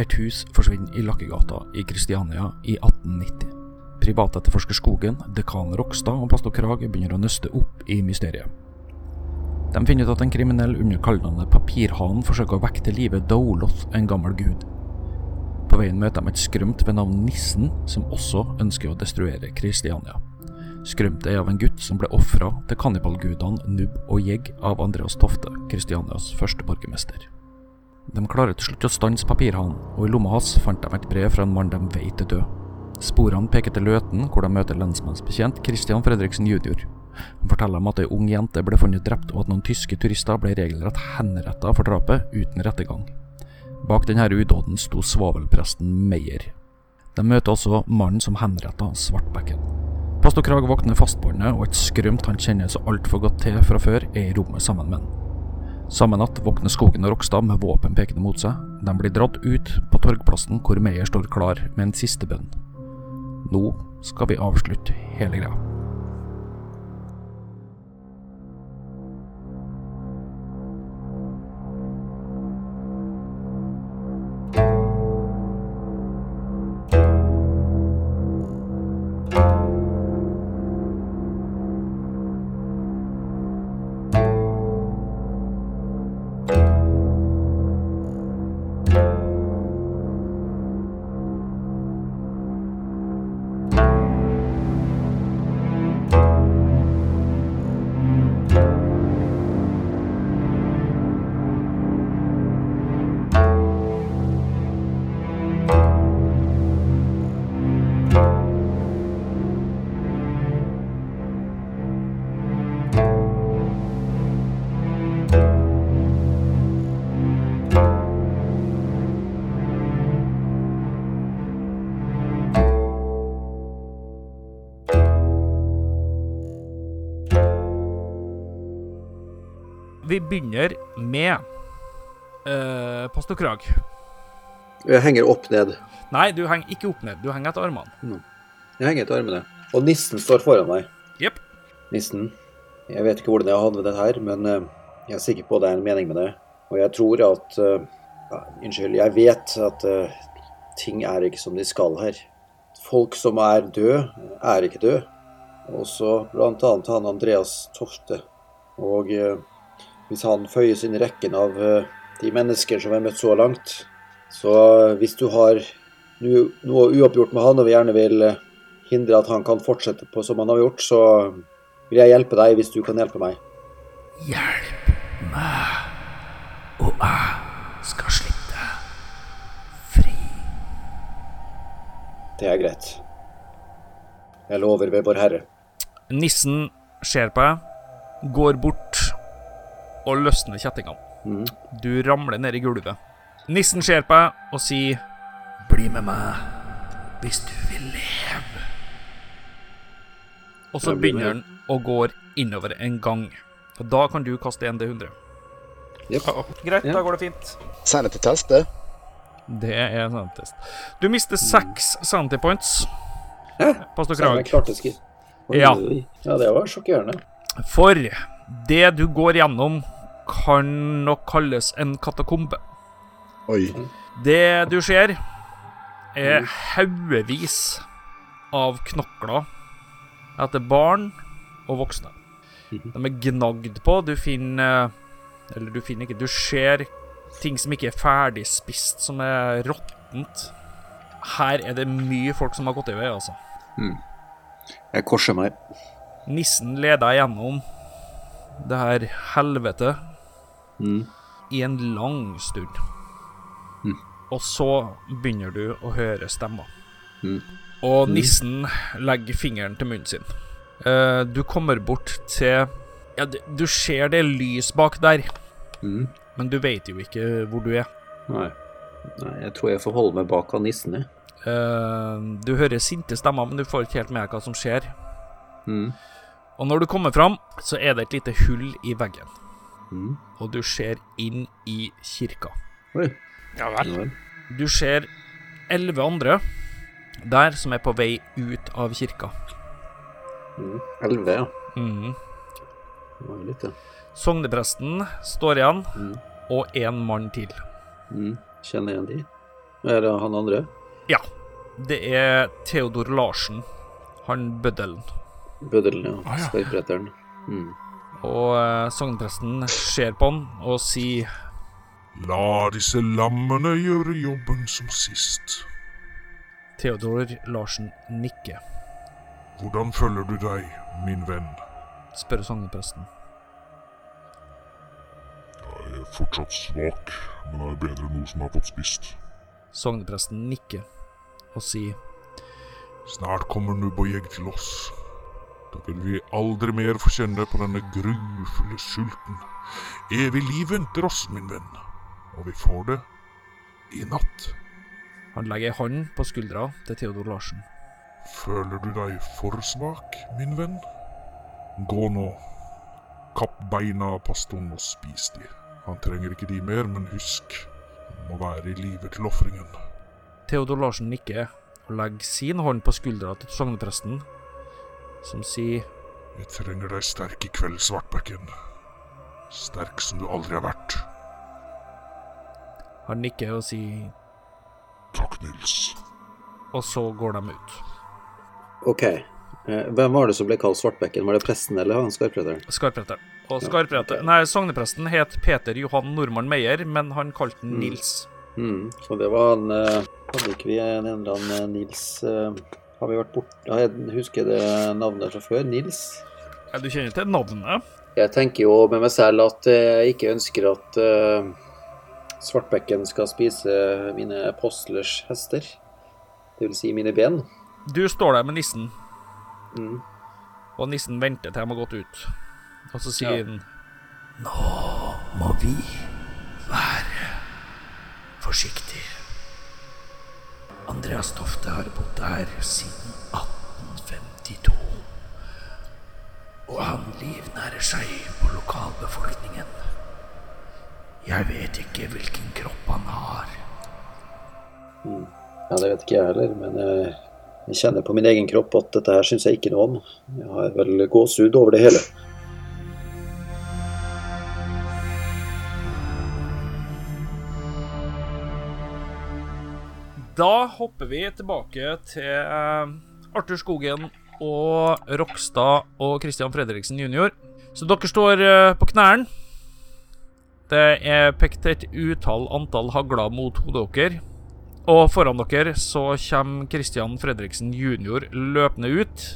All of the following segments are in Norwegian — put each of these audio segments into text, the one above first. Et hus forsvinner i Lakkegata i Kristiania i 1890. Privatetterforsker Skogen, dekan Rokstad og pastor Krag begynner å nøste opp i mysteriet. De finner ut at en kriminell under kallenavnet Papirhanen forsøker å vekke til live Doloth, en gammel gud. På veien møter de et skrømt ved navn Nissen, som også ønsker å destruere Kristiania. Skrømtet er av en gutt som ble ofra til kannibalgudene Nubb og Jegg av Andreas Tofte, Kristianias første borgermester. De klarer til slutt å stanse papirhanen, og i lomma hans fant de et brev fra en mann de vet er død. Sporene peker til Løten, hvor de møter lensmannsbetjent Christian Fredriksen jr. Han forteller dem at ei ung jente ble funnet drept, og at noen tyske turister ble regelrett henrettet for drapet, uten rettergang. Bak denne udåden sto svavelpresten Meyer. De møter også mannen som henrettet Svartbekken. Pastor Krag våkner fastbåndet, og et skrømt han kjenner så altfor godt til fra før, er i rommet sammen med han. Samme natt våkner Skogen og Rokstad med våpen pekende mot seg. De blir dratt ut på torgplassen, hvor Meyer står klar med en siste bønn. Nå skal vi avslutte hele greia. Vi begynner med eh, pastor Krag. Jeg henger opp ned. Nei, du henger ikke opp ned. Du henger etter armene. Jeg henger etter armene. Og nissen står foran meg. Jepp. Nissen, jeg vet ikke hvordan jeg hadde det her, men eh, jeg er sikker på det er en mening med det. Og jeg tror at eh, ja, Unnskyld, jeg vet at eh, ting er ikke som de skal her. Folk som er døde, er ikke døde. Også blant annet han Andreas Tofte. Og eh, hvis han føyes inn i rekken av eh, de mennesker som er møtt så langt, så eh, hvis du har nu- noe uoppgjort med han og vi gjerne vil eh, hindre at han kan fortsette på som han har gjort, så vil jeg hjelpe deg hvis du kan hjelpe meg. Hjelp meg, og jeg skal slippe deg fri. Det er greit. Jeg lover ved Vår Herre. Nissen ser på deg, går bort og løsner kjettingene. Mhm. Du ramler ned i gulvet. Nissen ser på deg og sier Bli med meg hvis du vil leve. Og så Jeg blir med. begynner han å gå innover en gang. Og da kan du kaste en D100. Jepp. Greit, Ja. da går det fint. Send det til test, det. Det er en sanitest. Du mister seks sanity points. Pastor Selv om jeg Krag. klarte ski- Oi, Ja. oi. ja, det var sjokkerende. For det du går gjennom, kan nok kalles en katakombe. Oi. Det du ser, er haugevis av knokler etter barn og voksne. De er gnagd på. Du finner Eller du finner ikke Du ser ting som ikke er ferdig spist, som er råttent. Her er det mye folk som har gått i vei, altså. Jeg korser meg. Nissen leda gjennom det her helvete i en lang stund. Og så begynner du å høre stemmer. Og nissen legger fingeren til munnen sin. Eh, du kommer bort til ja, du, du ser det er lys bak der, Mm. men du vet jo ikke hvor du er. Nei. Nei, jeg tror jeg får holde meg bak av nissen, jeg. Eh, du hører sinte stemmer, men du får ikke helt med deg hva som skjer. Mm. Og når du kommer fram, så er det et lite hull i veggen. Mm. og du ser inn i kirka. Oi. Ja Ja vel. vel. Du ser elleve andre der som er på vei ut av kirka. Mm. Elleve, ja. Mhm. Det var jo litt, ja. Sognepresten står igjen, Mm. og én mann til. Mm. Kjenner igjen de. Er det han andre? Ja. Det er Theodor Larsen, han bøddelen. Bøddelen, ja. Ah, ja. Skarpretteren. Mm. Og eh, sognepresten ser på han og sier La disse lammene gjøre jobben som sist. Theodor Larsen nikker, Hvordan føler du deg, min venn? spør sognepresten. Jeg er fortsatt svak, men er bedre enn noe som er fått spist. Sognepresten nikker og sier Snart kommer Nubojeg til oss. Da vil vi aldri mer få kjenne på denne grufulle sulten. Evig liv venter oss, min venn. Og vi får det i natt. Han legger ei hånd på skuldra til Theodor Larsen. Føler du deg for svak, min venn? Gå nå. Kapp beina av pastoren og spis de. Han trenger ikke de mer, men husk, han må være i live til ofringen. Theodor Larsen nikker og legger sin hånd på skuldra til sognepresten, som sier Jeg trenger deg sterk i kveld, Svartbekken. Sterk som du aldri har vært. Han nikker og sier Takk, Nils. Og så går de ut. Ok. Eh, Hvem var det som ble kalt Svartbekken? Var det presten eller han skarpretteren? Skarpretteren. Og skarpretteren Nei, sognepresten het Peter Johan Normann Meyer, men han kalte han Mm. Nils. Mm. Så det var han eh, Hadde ikke vi en eller annen eh, Nils eh, Har vi vært bort... Ja, jeg husker det navnet fra før. Nils? Ja, du kjenner til navnet? Jeg tenker jo med meg selv at jeg ikke ønsker at eh, Svartbekken skal spise mine apostlers hester. Det vil si mine ben. Du står der med nissen, Mm. og nissen venter til de har gått ut. Og så sier Ja. han Må vi være forsiktige. Andreas Tofte har bodd her siden 1852. Og han livnærer seg på lokalbefolkningen. Jeg vet ikke hvilken kropp han har. Ja, det vet ikke jeg heller, men eh, jeg kjenner på min egen kropp at dette her syns jeg ikke noe om. Jeg har vel gåsehud over det hele. Da hopper vi tilbake til eh, Arthur Skogen og Rokstad og Christian Fredriksen jr. Så dere står eh, på knærne. Det er pekt et utall antall hagler mot hodet dere. Og foran dere så kommer Christian Fredriksen jr. løpende ut.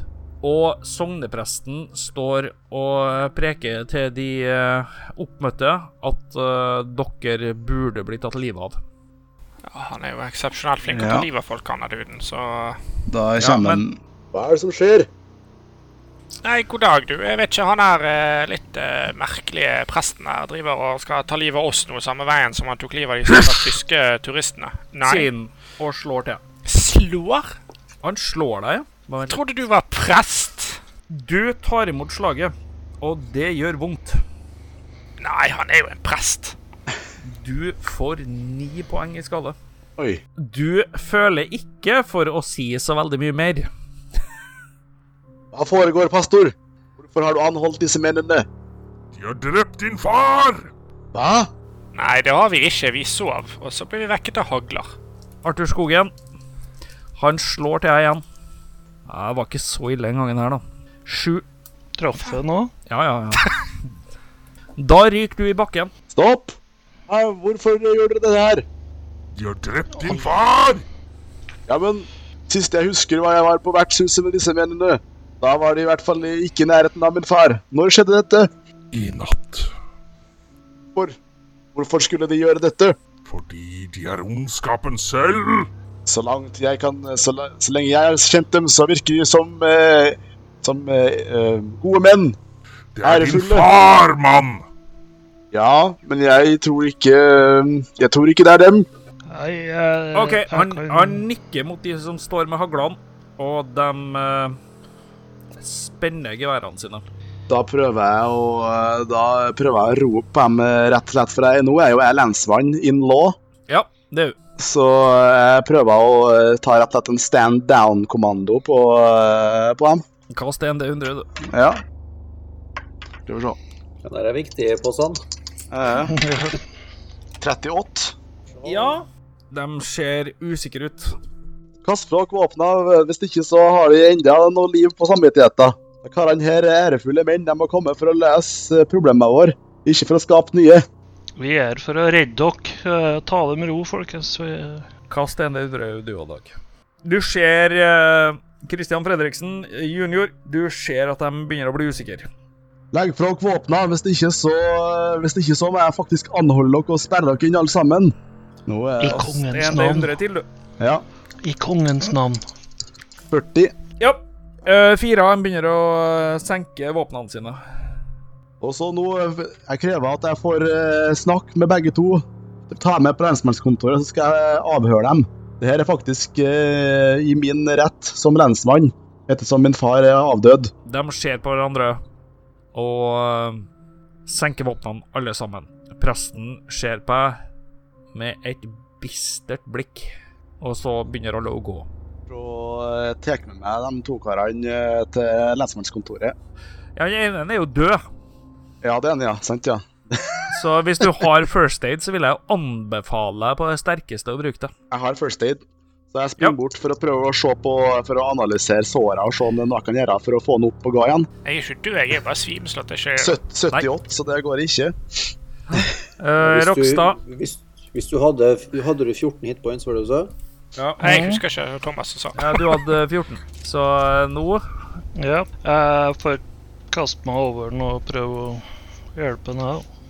Og sognepresten står og preker til de eh, oppmøtte at eh, dere burde bli tatt livet av. Ja, han er jo eksepsjonelt flink til å Ja. ta livet av folk, han der duden, så Da men- kommer han Hva er det som skjer? Nei, god dag, du. Jeg vet ikke, han her eh, litt eh, merkelige presten her driver og skal ta livet av oss noe samme veien som han tok livet av de stakkars tyske turistene. Nei. Siden, og slår til. Slår? Han slår deg, ja. Bare vent. Trodde du var prest? Du tar imot slaget, og det gjør vondt. Nei, han er jo en prest. Du får ni poeng i skade. Oi. Du føler ikke for å si så veldig mye mer. Hva foregår, pastor? Hvorfor har du anholdt disse mennene? De har drept din far! Hva? Nei, det har vi ikke. Vi sov, og så ble vi vekket av hagler. Arthur Skogen, han slår til deg igjen. Ja, Det var ikke så ille den gangen her, da. Sju. Traff jeg nå? Ja, ja, ja. Da ryker du i bakken. Stopp! Hva- Hvorfor gjør dere dette her? De har drept din far! Ja, men sist jeg husker var jeg var på vertshuset med disse mennene. Da var de i hvert fall ikke i nærheten av min far. Når skjedde dette? I natt. Hvor? Hvorfor skulle de gjøre dette? Fordi de er ondskapen selv. Så langt jeg kan Så, la- så lenge jeg har kjent dem, så virker de som eh, Som eh, eh, gode menn. Det er din Ærefulle. far, mann! Ja, men jeg tror ikke eh, Jeg tror ikke det er dem. Nei, jeg, OK, han, han nikker mot de som står med haglene, og de eh, spenner geværene sine. Da prøver jeg å eh, Da prøver jeg å rope på dem eh, rett og slett, for jeg, nå er jo jeg lensmann in law. Ja, det er jo Så jeg prøver å eh, ta rett og slett en stand down-kommando på, eh, på dem. Kast en D100, du. Ja. Skal vi se. Den der er viktig, Påsan. Eh, 38. Ja, De ser usikre ut. Kast fra dere våpnene, eh, hvis ikke så har de enda noe liv på samvittigheten. Karene her er ærefulle menn. De har kommet for å løse problemene våre, ikke for å skape nye. Vi er for å redde dere. Eh, Ta det med ro, folkens. Vi, Kast en del rød du òg, Dag. Du ser eh, Christian Fredriksen jr. Du ser at de begynner å bli usikre. Legg fra dere våpnene, hvis ikke så Hvis ikke så må jeg faktisk anholde dere og sperre dere inn alle sammen. Nå er jeg I Det er kongens en del navn. hundre til, du. ja, I kongens navn. 40, Ja. Eh, fire av dem begynner å eh, senke våpnene sine. og så nå Jeg krever at jeg får eh, snakke med begge to. Ta med på lensmannskontoret, så skal jeg avhøre dem. Det her er faktisk eh, i min rett som lensmann, ettersom min far er avdød. De ser på hverandre og eh, senker våpnene, alle sammen. Presten ser på deg med et bistert blikk, og så begynner alle å gå. Og eh, tar med meg de to karene eh, til lensmannskontoret. Ja, Den ene er jo død, Ja, det er en, ja. Sant, ja. så hvis du har first aid, så vil jeg jo anbefale på det sterkeste å bruke det. Jeg har first aid, så jeg springer Ja. bort for å prøve å se på, for å analysere såra og se om det er noe jeg kan gjøre for å få den opp og gå igjen. Jeg er ikke død, jeg er bare svimslått. Jeg er ikke Søt- 78, så det går ikke. Eh, Rokstad, Du, hvis, hvis du hadde, hadde du 14 hitpoints, var det du sa? Jeg husker ikke hva Thomas sa. eh, du hadde 14, så eh, nå Ja. Jeg får kaste meg over den og prøve å hjelpe den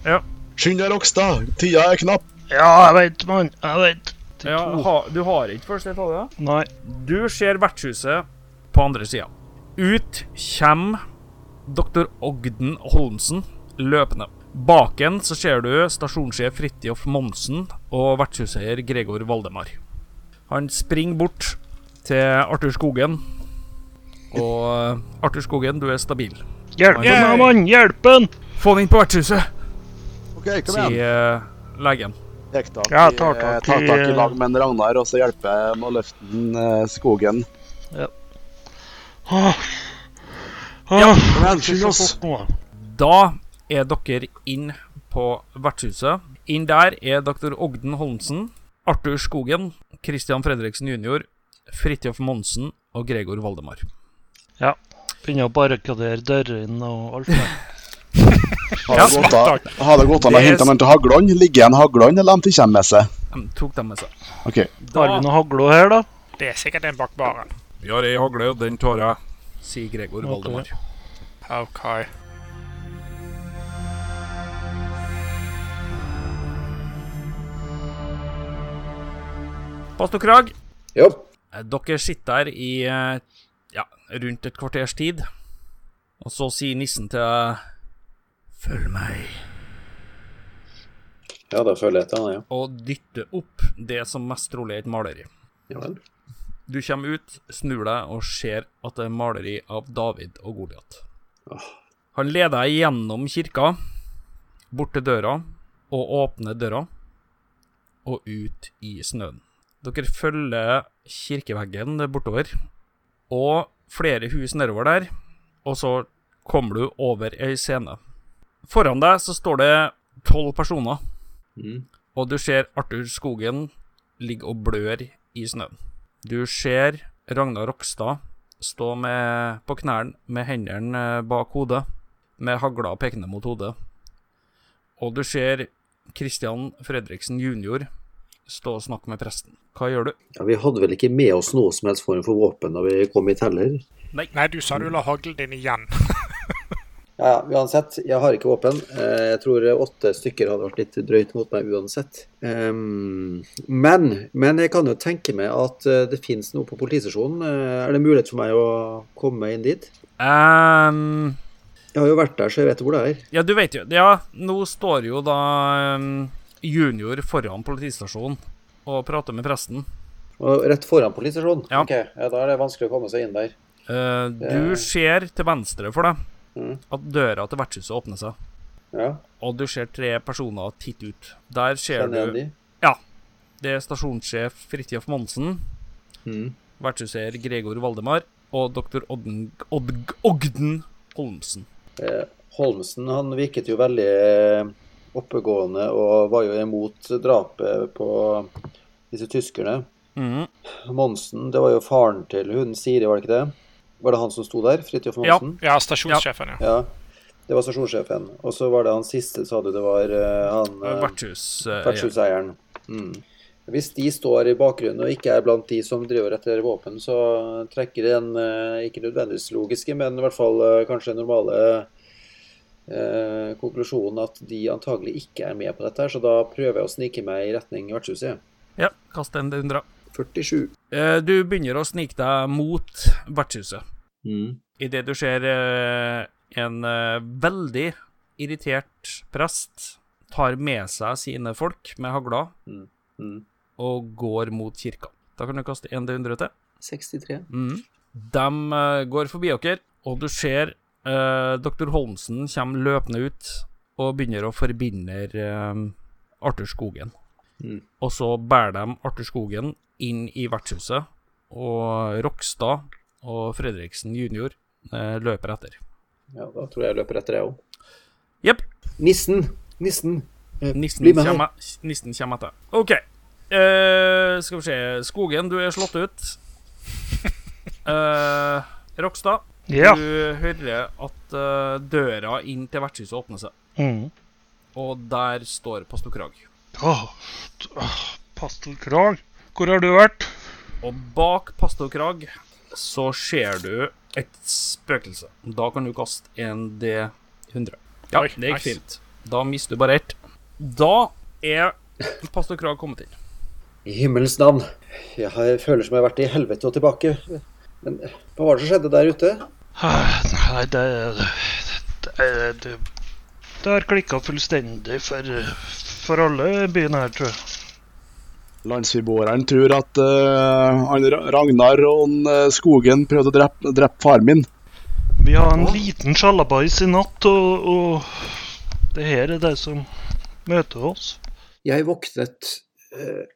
her. Skynd deg, Rokstad! Tida er knapp! Ja, jeg veit, mann. Jeg veit. Til ja, to. ha, Du har ikke first aid, har du det? Nei. Du ser vertshuset på andre sida. Ut kommer dr. Ogden Holmsen løpende. Baken så ser du stasjonssjef Fridtjof Monsen og vertshuseier Gregor Valdemar. Han springer bort til Arthur Skogen. Og eh, Arthur Skogen, du er stabil. Hjelp meg, Yay. mann! Hjelp den! Få han inn på vertshuset, OK, kom igjen. sier eh, legen. Tek tak, Ja, i- eh, tar tak i- tar tak i lag med en Ragnar, og så hjelper jeg med å løfte den eh, skogen. Åh. Åh. Kom igjen, Ikke skynd Ah. så oss! fort nå, da. Da er dere inn på vertshuset. Inn der er dr. Ogden Holmsen, Arthur Skogen, Christian Fredriksen jr., Fridtjof Monsen og Gregor Valdemar. Begynner å barrikadere dørene og alt det. Har det gått an- har det gått an Det å er- hente dem til haglene? Ligger igjen haglene, eller de ikke med seg? De tok dem med seg. OK. Har vi Da noe hagle her, da? Det er sikkert en bak baren. Vi har ei hagle, den tar jeg. sier Gregor Ok. Valdemar. OK. Pastor Krag, Ja. eh, dere sitter der i eh, ja, rundt et kvarters tid. Og så sier nissen til eh, Følg meg. Ja, da følger jeg etter han, ja. Og dytter opp det som mest trolig er et maleri. ja vel. Du kommer ut, snur deg og ser at det er maleri av David og Goliat. Han leder deg gjennom kirka, bort til døra, og åpner døra, og ut i snøen. Dere følger kirkeveggen bortover, og flere hus nedover der, og så kommer du over ei scene. Foran deg så står det tolv personer, Mm. og du ser Arthur Skogen ligge og blør i snøen. Du ser Ragnar Rokstad stå med, på knærne med hendene eh, bak hodet, med hagla pekende mot hodet. Og du ser Christian Fredriksen jr. stå og snakke med presten. Hva gjør du? Ja, Vi hadde vel ikke med oss noe som helst form for våpen da vi kom hit heller? Nei, du sa du la haglen din igjen. Ja, ja, uansett. Jeg har ikke våpen. Eh, Jeg tror åtte stykker hadde vært litt drøyt mot meg uansett. Ehm, men, men jeg kan jo tenke meg at eh, det finnes noe på politistasjonen. Eh, Er det mulighet for meg å komme meg inn dit? Um, Jeg har jo vært der, så jeg vet hvor det er. ja, du vet jo Ja, nå står jo da em, junior foran politistasjonen og prater med presten. Og rett foran politistasjonen? Ja. Ok, ja, Da er det vanskelig å komme seg inn der. Eh, Ja. du ser til venstre for deg Mhm. at døra til vertshuset åpner seg. Ja, og du ser tre personer titte ut. Der ser kjenner jeg du de? det er stasjonssjef Fridtjof Monsen, Mm. vertshuseier Gregor Valdemar og doktor Odden, Odd, Ogden Holmsen. Eh, Holmsen han virket jo veldig eh, oppegående og var jo imot drapet på de disse tyskerne. Mhm. Monsen, det var jo faren til hun Siri, var det ikke det? Var det han som sto der? Fridtjof Ja, Monsen? ja stasjonssjefen, ja. Ja. Det var stasjonssjefen. Og så var det han siste, sa du, det var eh, han eh, Vertshus. eh, vertshuseieren. Mm. Hvis de står i bakgrunnen og ikke er blant de som driver etter våpen, så trekker det en eh, ikke nødvendigvis logiske, men i hvert fall eh, kanskje den normale eh, konklusjonen at de antagelig ikke er med på dette, her, så da prøver jeg å snike meg i retning vertshuset. ja. ja, kast en dundra. 47. Eh, Du begynner å snike deg mot vertshuset. Mm. Idet du ser eh, en eh, veldig irritert prest tar med seg sine folk med hagla Mm. og går mot kirka. Da kan du kaste en D100 til. 63. Mm. De eh, går forbi dere, og du ser eh, Dr. Holmsen kommer løpende ut og begynner å forbinde eh, Arthur Skogen. Mm. Og så bærer de Arthur Skogen inn i vertshuset, og Rokstad og Fredriksen jr. eh, løper etter. Ja, da tror jeg jeg løper etter, jeg òg. Jepp. Nissen! Nissen! Eh, Nissen Bli med her. kommer, nissen kommer etter. OK. Eh, skal vi se Skogen, du er slått ut. Eh, Rokstad. Ja. Du hører at eh, døra inn til vertshuset åpner seg, Mm. og der står pastor Krag. Åh, Ah. t- åh, Pastelkrag, hvor har du vært? Og bak pastor Krag så ser du et spøkelse. Da kan du kaste en D100. Ja, Oi, det gikk nice. fint. Da mister du bare ett. Da er pastor Krag kommet inn. I himmelens navn. Jeg har- føler som jeg har vært i helvete og tilbake. Men eh, hva var det som skjedde der ute? Ah, Nei, det Det, det, det har klikka fullstendig for, for alle i byen her, tror jeg. Landsbyboerne tror at eh, han Ra- Ragnar og han, eh, Skogen prøvde å drepe, drepe faren min. Vi har en liten sjalabais i natt, og, og det her er det som møter oss. Jeg våknet eh,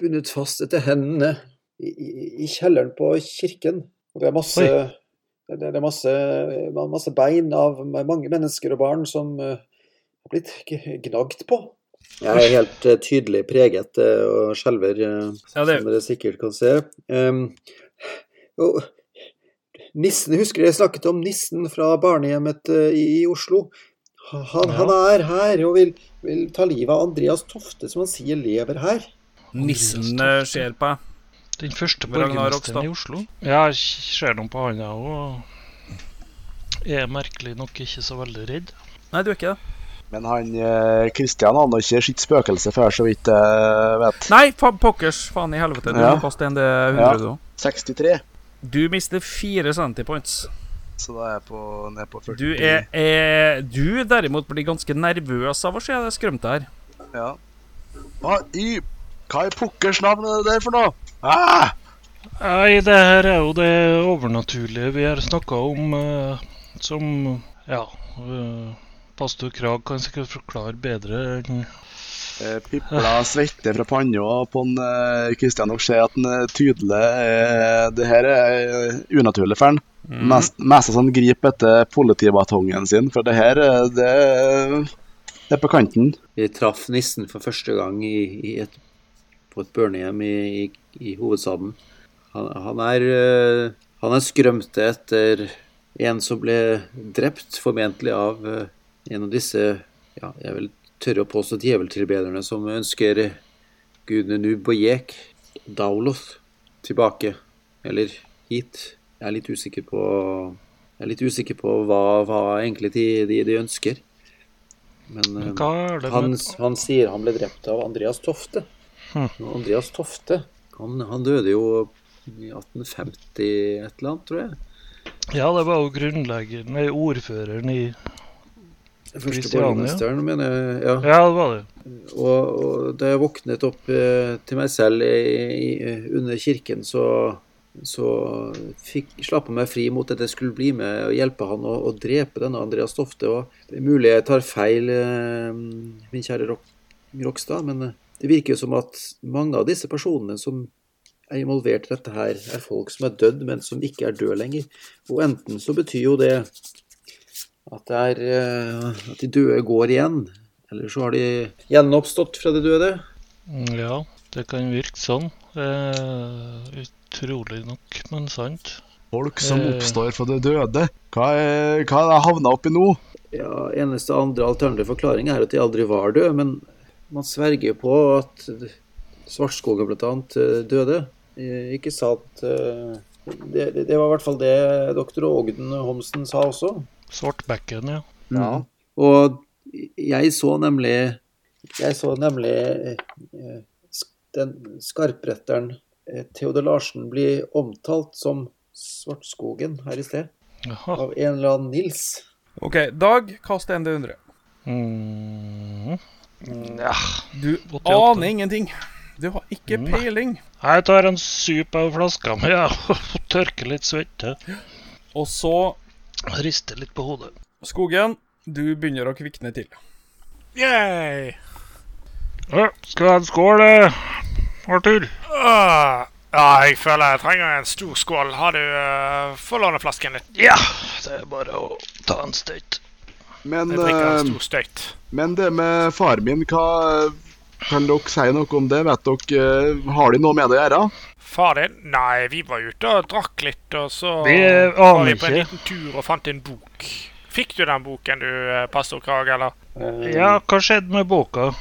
bundet fast etter hendene i, i, i kjelleren på kirken. Og det er masse, Oi. det, det er masse, ma- masse bein av mange mennesker og barn som eh, har blitt g- gnagd på. Jeg er helt eh, tydelig preget eh, og skjelver, eh, Ja, det- som dere sikkert kan se. Em, og nissen, husker dere jeg snakket om nissen fra barnehjemmet eh, i, i Oslo? Han, han er her og vil, vil ta livet av Andreas Tofte, som han sier lever her. Nissen eh, ser på deg. Den første Ragnar Rokstad. borgermesteren i Oslo. Ja, jeg ser noen på han, jeg òg. Er merkelig nok ikke så veldig redd. Nei, du er ikke det. Men han eh, Christian har nå ikke sitt spøkelse før, så vidt jeg vet. Nei, fa pokkers, faen i helvete. Du Ja. må kaste en D100, du òg. 63, Du mister fire centipoints. så da er jeg på, ned på 40. Du er, er Du derimot blir ganske nervøs av å se det skrømte her. Ja. Hva i Hva i pukkers navn er det der for noe? Ah! Nei, det her er jo det overnaturlige vi har snakka om, eh, som Ja. eh, pastor Krag kan sikkert forklare bedre enn Eh, Pipla svette fra panna på en, eh, Christian og ser at han eh, tydelig eh, Det her er eh, unaturlig for han. Mm. Mest, mest sånn grip etter politibatongen sin, for det her eh, det, er- det er på kanten. Vi traff nissen for første gang i, i et, på et børnehjem i, i, i hovedstaden. Han, han, er, eh, han er skrømte etter en som ble drept, formentlig av eh, en av disse ja, Jeg vil tørre å påstå djeveltilbederne som ønsker gudene Nub og Jek, Dauloth, tilbake. Eller hit. Jeg er litt usikker på, jeg er litt usikker på hva, hva egentlig de, de, de ønsker. Men, eh, Hva er det han, med han sier han ble drept av Andreas Tofte. Hm. Og Andreas Tofte, han, han døde jo i 1850 et eller annet, tror jeg. Ja, det var jo grunnleggeren, nei, ordføreren i Den Første Christiania. borgermesteren, mener jeg. Ja. Ja, det var det. Og, og da jeg våknet opp eh, til meg selv i, i, under kirken, så, så fikk, slapp jeg meg fri mot at jeg skulle bli med og hjelpe han å, å drepe denne Andreas Tofte. Og det er mulig jeg tar feil, eh, min kjære Rok Rokstad, men eh, det virker jo som at mange av disse personene som er involvert i dette her, er folk som er dødd, men som ikke er døde lenger. Og enten så betyr jo det at, det er, eh, at de døde går igjen, eller så har de gjenoppstått fra de døde. Mm, Ja. Det kan virke sånn. Eh, utrolig nok, men sant. Folk som Eh. oppstår fra det døde. Hva er hva er det jeg havna oppi nå? Ja, Eneste andre alternative forklaring er at de aldri var døde, men man sverger jo på at Svartskogen bl.a. døde. Eh, Ikke sant? eh, Det, det det var i hvert fall det doktor Ågden Homsen sa også. Svartbekken, ja. Ja. Og jeg så nemlig Jeg så nemlig eh, eh, sk- den skarpretteren eh, Theodor Larsen bli omtalt som Svartskogen her i sted, Jaha. av en eller annen Nils. OK, Dag, kast en D100. Mm. Nja Du 88. aner ingenting. Du har ikke Nei. peiling. Jeg tar en sup av flaska mi ja, og tørker litt svette. Og så, Rister litt på hodet. Skogen, du begynner å kvikne til. Yay! Ja, skal vi ha en skål, eh, Arthur? Åh, ja, Ah. jeg føler jeg trenger en stor skål. Har du uh, Få låne flasken litt. Ja, det er bare å ta en støyt. Men, Jeg drikker eh, en stor støyt. men det med faren min, hva Kan dere si noe om det? Vet dere, eh, Har de noe med det å gjøre? Far din? Nei, vi var ute og drakk litt, og så Vi eh, var vi aner på en ikke. liten tur og fant en bok. Fikk du den boken du, eh, pastor Krag, eller? Eh, Ja, hva skjedde med boka?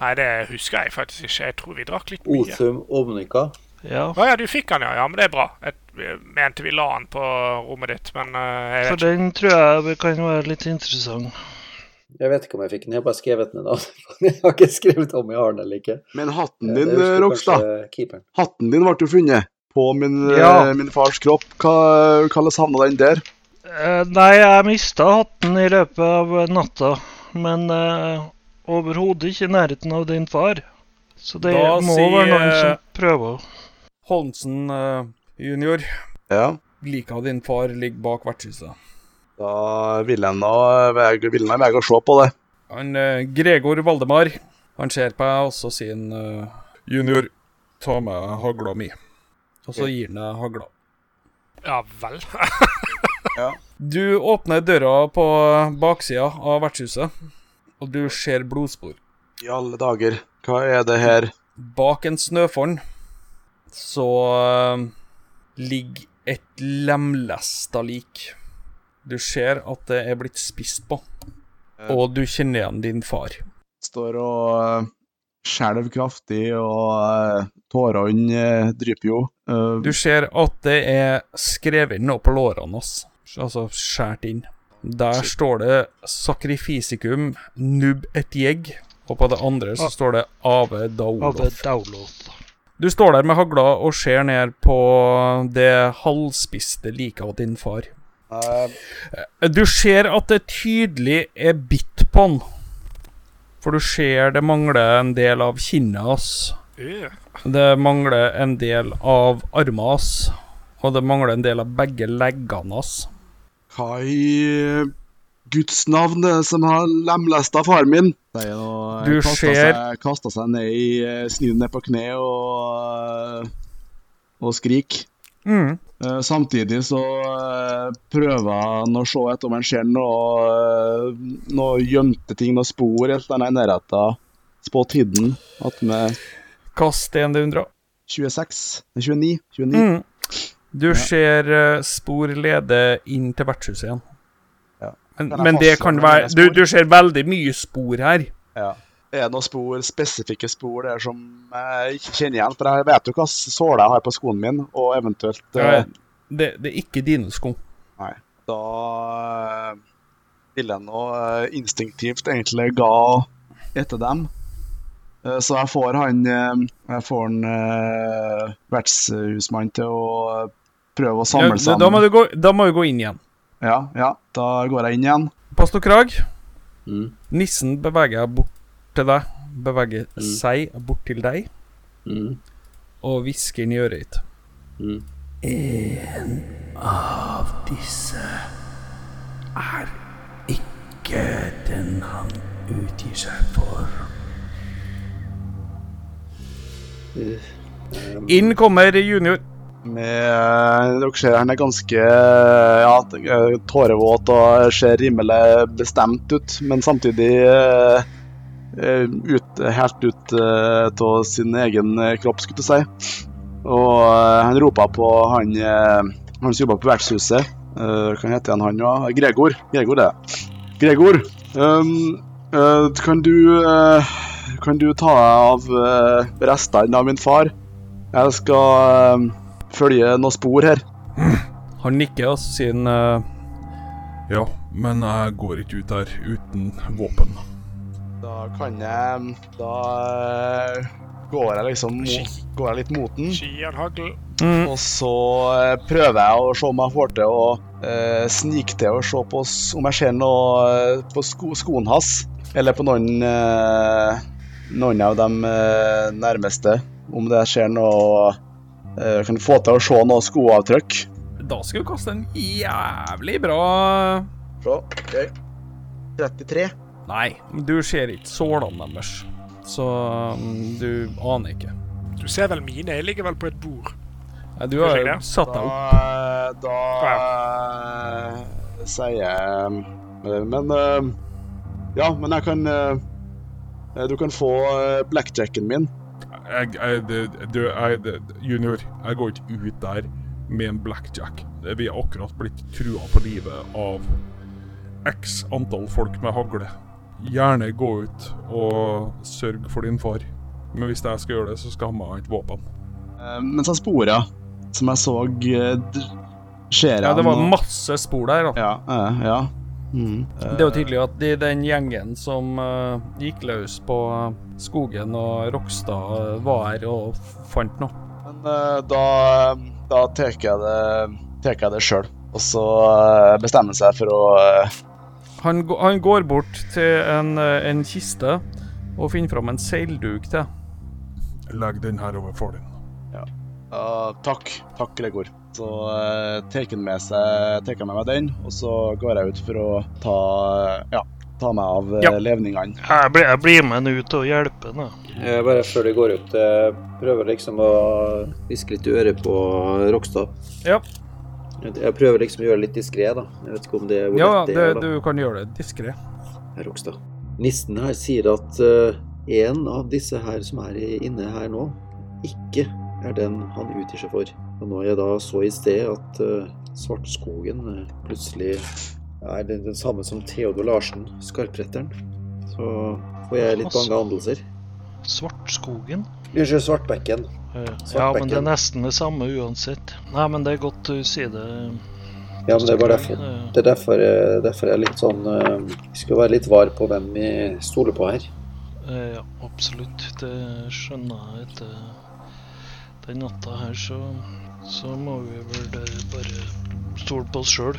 Nei, det husker jeg faktisk ikke. Jeg tror vi drakk litt mye. Othum Omnika. Ja, Å ja, du fikk den, ja. ja. Men det er bra. Jeg jeg mente vi la den på rommet ditt, men eh, jeg for vet ikke. den tror jeg vi kan være litt interessant. Jeg vet ikke om jeg fikk den, jeg har bare skrevet den. ned. Jeg har ikke skrevet om jeg har den eller ikke. Eh, Men Det hatten din, husker Rokstad. kanskje keeperen. Hatten din ble jo funnet på min, eh, Ja. min fars kropp. Hva hvordan havna den der? Eh, nei, jeg mista hatten i løpet av natta, men eh, overhodet ikke i nærheten av din far. Så det Da må sier- være noen som prøver. Holmsen eh, junior, Ja. liket av din far ligger bak vertshuset. Da ville jeg nå veg- ville jeg vege å se på det. Han eh, Gregor Valdemar, han ser på meg og så sier han eh, Junior, ta med hagla mi. Og så gir han deg hagla. Ja vel. Du åpner døra på baksida av vertshuset, og du ser blodspor. I alle dager, hva er det her? Bak en snøfonn så eh, ligger et lemlesta lik. Du ser at det er blitt spist på, Eh. og du kjenner igjen din far. Står og eh, skjelver kraftig, og eh, tårene eh, dryper jo. Eh, Du ser at det er skrevet inn noe på lårene hans, altså skåret inn. Der står det 'Sacrificicum nub et jeg', og på det andre så Ah. står det 'Ave Ave daolof'. Daulof. Du står der med hagla og ser ned på det halvspiste liket av din far. eh, Du ser at det tydelig er bitt på han, for du ser det mangler en del av kinnet hans. Øh. Det mangler en del av armene hans, og det mangler en del av begge leggene hans. Hva i eh, Guds navn er det som har lemlesta faren min? Det er noe, Du kasta ser- seg, kasta seg ned i eh, Snudde ned på kne og, eh, og skrik. Eh, Samtidig så eh, prøver han å se etter om han ser noe, eh, noe gjemte ting, noen spor, et eller annet i nærheten. Spått hidden attmed Kast en D100. 26 Nei, 29. 29. Mm. Du ser eh, spor lede inn til vertshuset igjen. Ja. Men, Kan jeg men det fastslå kan hvor være mange du, spor? du ser veldig mye spor her. Ja. Er det noen spor, spesifikke spor der som jeg ikke kjenner igjen? For jeg vet jo hva såla jeg har på skoen min, og eventuelt eh, Det, det er ikke dine sko. Da eh, ville jeg nå eh, instinktivt egentlig ga etter dem. Eh, Så jeg får han eh, Jeg får han eh, vertshusmannen til å eh, prøve å Ja, samle da, da, må sammen. du gå, da må du gå inn igjen. Ja, ja, da går jeg inn igjen. Pastor Krag, Mm. nissen beveger bort til deg. Beveger Mm. seg bort til deg Mm. og hvisker inn i øret ditt. Mm. disse er ikke den han utgir seg for. Eh, Inn kommer junior. Med, eh, dere ser han er ganske eh, ja, t- eh, tårevåt og ser rimelig bestemt ut, men samtidig eh, eh, ut, helt ut av sin egen eh, kropp, skulle jeg si. Og eh, han ropa på han, eh, han som jobba på vertshuset. Eh, Hva heter han han òg? Gregor. Gregor, det. er. Gregor, ehm, eh, kan du eh, Kan du ta av eh, restene av min far? Jeg skal eh, følge noen spor her. Han nikker og sier han, eh, Ja, men jeg går ikke ut der uten våpen. Da kan jeg Da eh, går jeg liksom mot, går jeg litt mot den. Skiernhagl. Mm. Og så eh, prøver jeg å se om jeg får til å eh, snike til og se på s- om jeg ser noe eh, på sko skoen hans. Eller på noen, eh, noen av de eh, nærmeste. Om det skjer noe eh, Kan få til å se noe skoavtrykk. Da skal du kaste en jævlig bra Så, ok. 33. Nei, du ser ikke sålene deres. Så mm, du aner ikke. Du ser vel mine? Jeg ligger vel på et bord. Nei, Du Gjør har jeg det? satt deg opp. Da, da eh, sier jeg eh, Men eh, Ja, men jeg kan eh, Du kan få eh, blackjacken min. Jeg, jeg, det- du, jeg, det- junior, jeg går ikke ut der med en blackjack. Vi er akkurat blitt trua på livet av x antall folk med hagle. Gjerne gå ut og sørg for din far. Men hvis jeg skal gjøre det, så skal han ha et våpen. Eh, Mens jeg spora, som jeg så eh, dr- Ser jeg Ja, det var noe- masse spor der, da. Ja. eh, ja. Mm. Det er jo tydelig at de, den gjengen som eh, gikk løs på eh, skogen og Rokstad, eh, var her og f- fant noe. Men eh, da, da tar jeg det, tar jeg det sjøl. Og så eh, bestemmer jeg seg for å eh, Han, gå- han går bort til en, eh, en kiste og finner fram en seilduk til. Legg den her over far din. Ja, takk. Takk, Gregor. Så uh, tar han med seg tar jeg med meg den, og så går jeg ut for å ta ja, ta meg av eh, Ja. levningene. Jeg blir, jeg blir med han ut og hjelper han. jeg. Jeg Eh, bare før de går ut, eh, prøver liksom å hviske litt i øret på Rokstad. Ja. Jeg jeg prøver liksom å gjøre det litt diskré, da. Jeg vet ikke om det er hvor Ja, lett det, er, da. du kan gjøre det diskré. Rokstad. Nissen her sier at eh, en av disse her som er i- inne her nå, ikke er den han utgir seg for. Og når jeg da så i sted at eh, Svartskogen eh, plutselig er den, den samme som Theodor Larsen, skarpretteren, så får jeg litt bange andelser. Svartskogen? Unnskyld, Svartbekken. Eh, Ja, Svartbekken. men det er nesten det samme uansett. Nei, men det er godt du sier det. Ja, men det er bare derfor. Det- Det er derfor, eh, derfor jeg er litt sånn eh, Vi skal være litt var på hvem vi stoler på her. eh, Ja, absolutt. Det skjønner jeg etter den natta her, så, så må vi vel eh, bare stole på oss sjøl.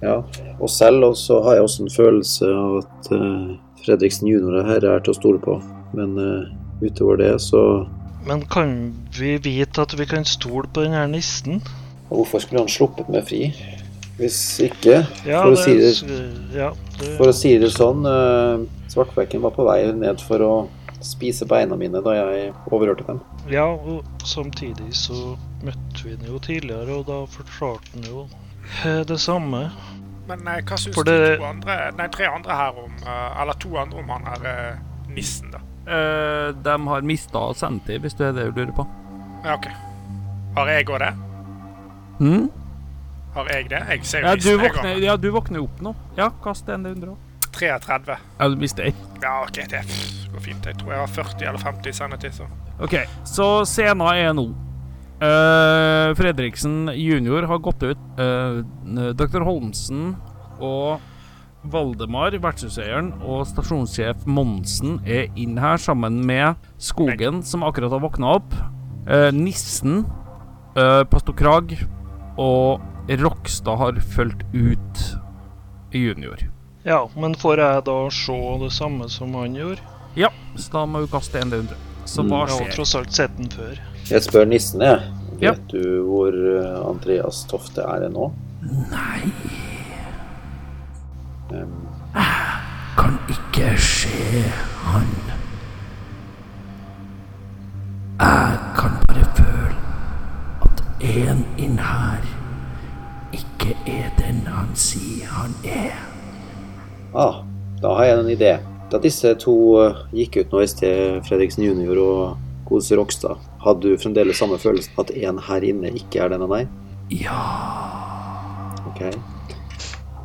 Ja, og selv også har jeg også en følelse av at eh, Fredriksen junior her er til å stole på. Men eh, utover det, så Men kan vi vite at vi kan stole på den her nissen? Og Hvorfor skulle han sluppet meg fri? Hvis ikke Ja, For å si det- s- Ja, det For å si det sånn, eh, Svartbekken var på vei ned for å spise beina mine da jeg overhørte dem. Ja, og samtidig så møtte vi den jo tidligere, og da forklarte den jo eh, det samme. Men eh, hva syns For de det- to andre, nei, tre andre her om eh, Eller to andre om han her eh, nissen, da? Eh, de har mista Senti, hvis det er det du lurer på. Ja, OK. Har jeg òg det? Hm? Har jeg det? Jeg ser jo Ja, du nissen, jeg våkner, også. ja, du våkner opp nå. Ja, kast en D100 òg. 33. Ja, du mister ett. Ja, OK, det pff, går fint. Jeg tror jeg har 40 eller 50 i sanity, så OK, så scena er nå. Eh, Fredriksen jr. har gått ut. Eh, Dr. Holmsen og Valdemar, vertshuseieren, og stasjonssjef Monsen er inn her sammen med Skogen, som akkurat har våkna opp. Eh, nissen, eh, Pastor Krag og Rokstad har fulgt ut junior. Ja, men får jeg da se det samme som han gjorde? Ja, så da må du kaste en D100. Så Mm. hva Jeg har skjer? tross alt sett den før. Jeg spør nissen, jeg. Ja. Vet du hvor eh, Andreas Tofte er nå? Nei Kan ikke se han. Jeg kan bare føle at en inn her ikke er den han sier han er. Ah, da har jeg en idé. Da disse to eh, gikk ut nå i sted, Fredriksen jr. og Kos Rogstad, hadde du fremdeles samme følelsen at én her inne ikke er denne, nei? Ja. Ok.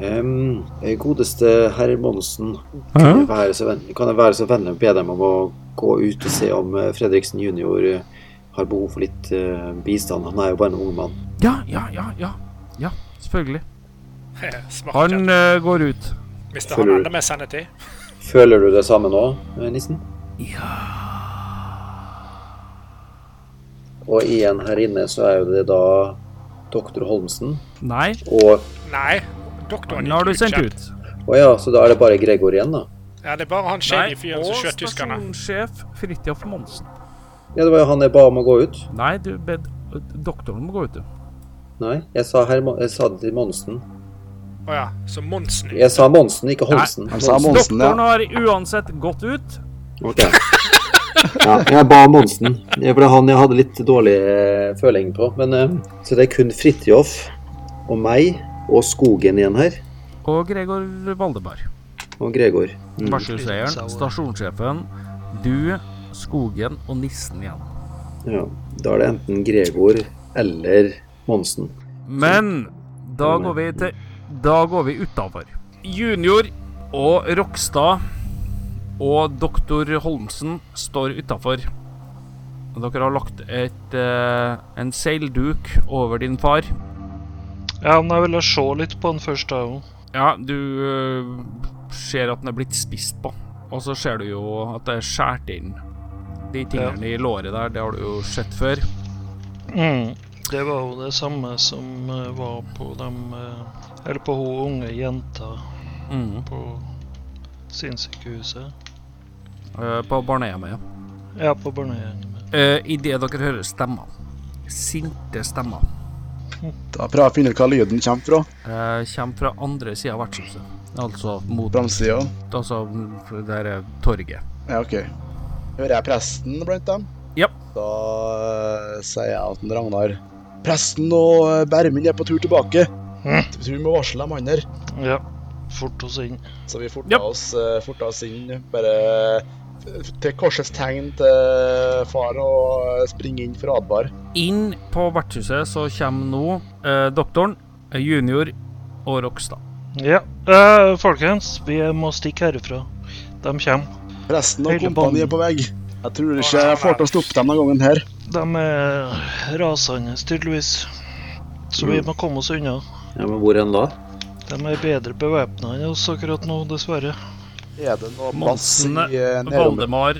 Em, eh, godeste herr Monsen, kan jeg være så vennlig, kan jeg være så vennlig å be dem om å gå ut og se om eh, Fredriksen jr. eh, har behov for litt eh, bistand? Han er jo bare en ung mann. Ja, ja, ja, ja. Ja, selvfølgelig. Smart. Han Han, eh, går ut. Mister føler han du- enda mer sanity? Føler du det samme nå, eh, Nissen? Ja. Og igjen her inne så er jo det da doktor Holmsen. Nei, Og Nei. Doktoren nå har du gikk sendt kjent. ut. Å ja, så da er det bare Gregor igjen, da. Ja, det er bare han Nei, shady fyren som og skjøt tyskerne. stasjonssjef Fridtjof Monsen. Ja, det var jo han jeg ba om å gå ut. Nei, du bed doktoren må gå ut, du. Nei, jeg sa, herr Mo- jeg sa det til Monsen. Å ja, så Monsen. Jeg sa Monsen, ikke Holmsen. Han sa Monsen, Doktoren ja. har uansett gått ut. Ok. Ja, jeg ba om Monsen. Det var han jeg hadde litt dårlig eh, føling på. Men eh, Så det er kun Fridtjof og meg og Skogen igjen her. Og Gregor Valdeberg. Og Gregor. Mm. Varselseieren, stasjonssjefen, du, Skogen og nissen igjen. Ja, da er det enten Gregor eller Monsen. Men da Mm. går vi til Da går vi utafor. Junior og Rokstad og doktor Holmsen står utafor. Dere har lagt et, eh, en seilduk over din far. Ja, men jeg ville se litt på den først, da jo. Ja, du eh, ser at den er blitt spist på. Og så ser du jo at det er skåret inn. De tingene i låret der, det har du jo sett før. Mm. Det var jo det samme som eh, var på dem eh, Eller på hun unge jenta på sinnssykehuset. Eh, på barnehjemmet, ja. Ja, på barnehjemmet. Uh, Idet dere hører stemmer. Sinte stemmer. Da prøver jeg å finne ut hva lyden kommer fra. Eh, kommer fra andre sida av vertshuset. Altså mot Framsida. altså, mm, der er torget. Ja, OK. Hører jeg presten blant dem? Ja. Da eh, sier jeg at den Ragnar Presten og eh, Bermin er på tur tilbake. Mm. Så Vi må varsle dem andre. Ja. Fort oss inn. Så vi forta Ja. oss, eh, forta oss inn. Bare eh, til korsets tegn til far og eh, springe inn for å advare. Inn på vertshuset så kommer nå eh, doktoren, eh, junior og Rokstad. Ja. Eh, folkens, vi må stikke herifra. De kommer. Presten og Hele kompani er på vei. Jeg tror ikke jeg får til å stoppe dem denne gangen her. De er rasende, tydeligvis. Så vi må komme oss unna. Ja, men hvor enn da? De er bedre bevæpna enn oss akkurat nå, dessverre. Er det noe plass i Monsen, eh, nærområdet? Valdemar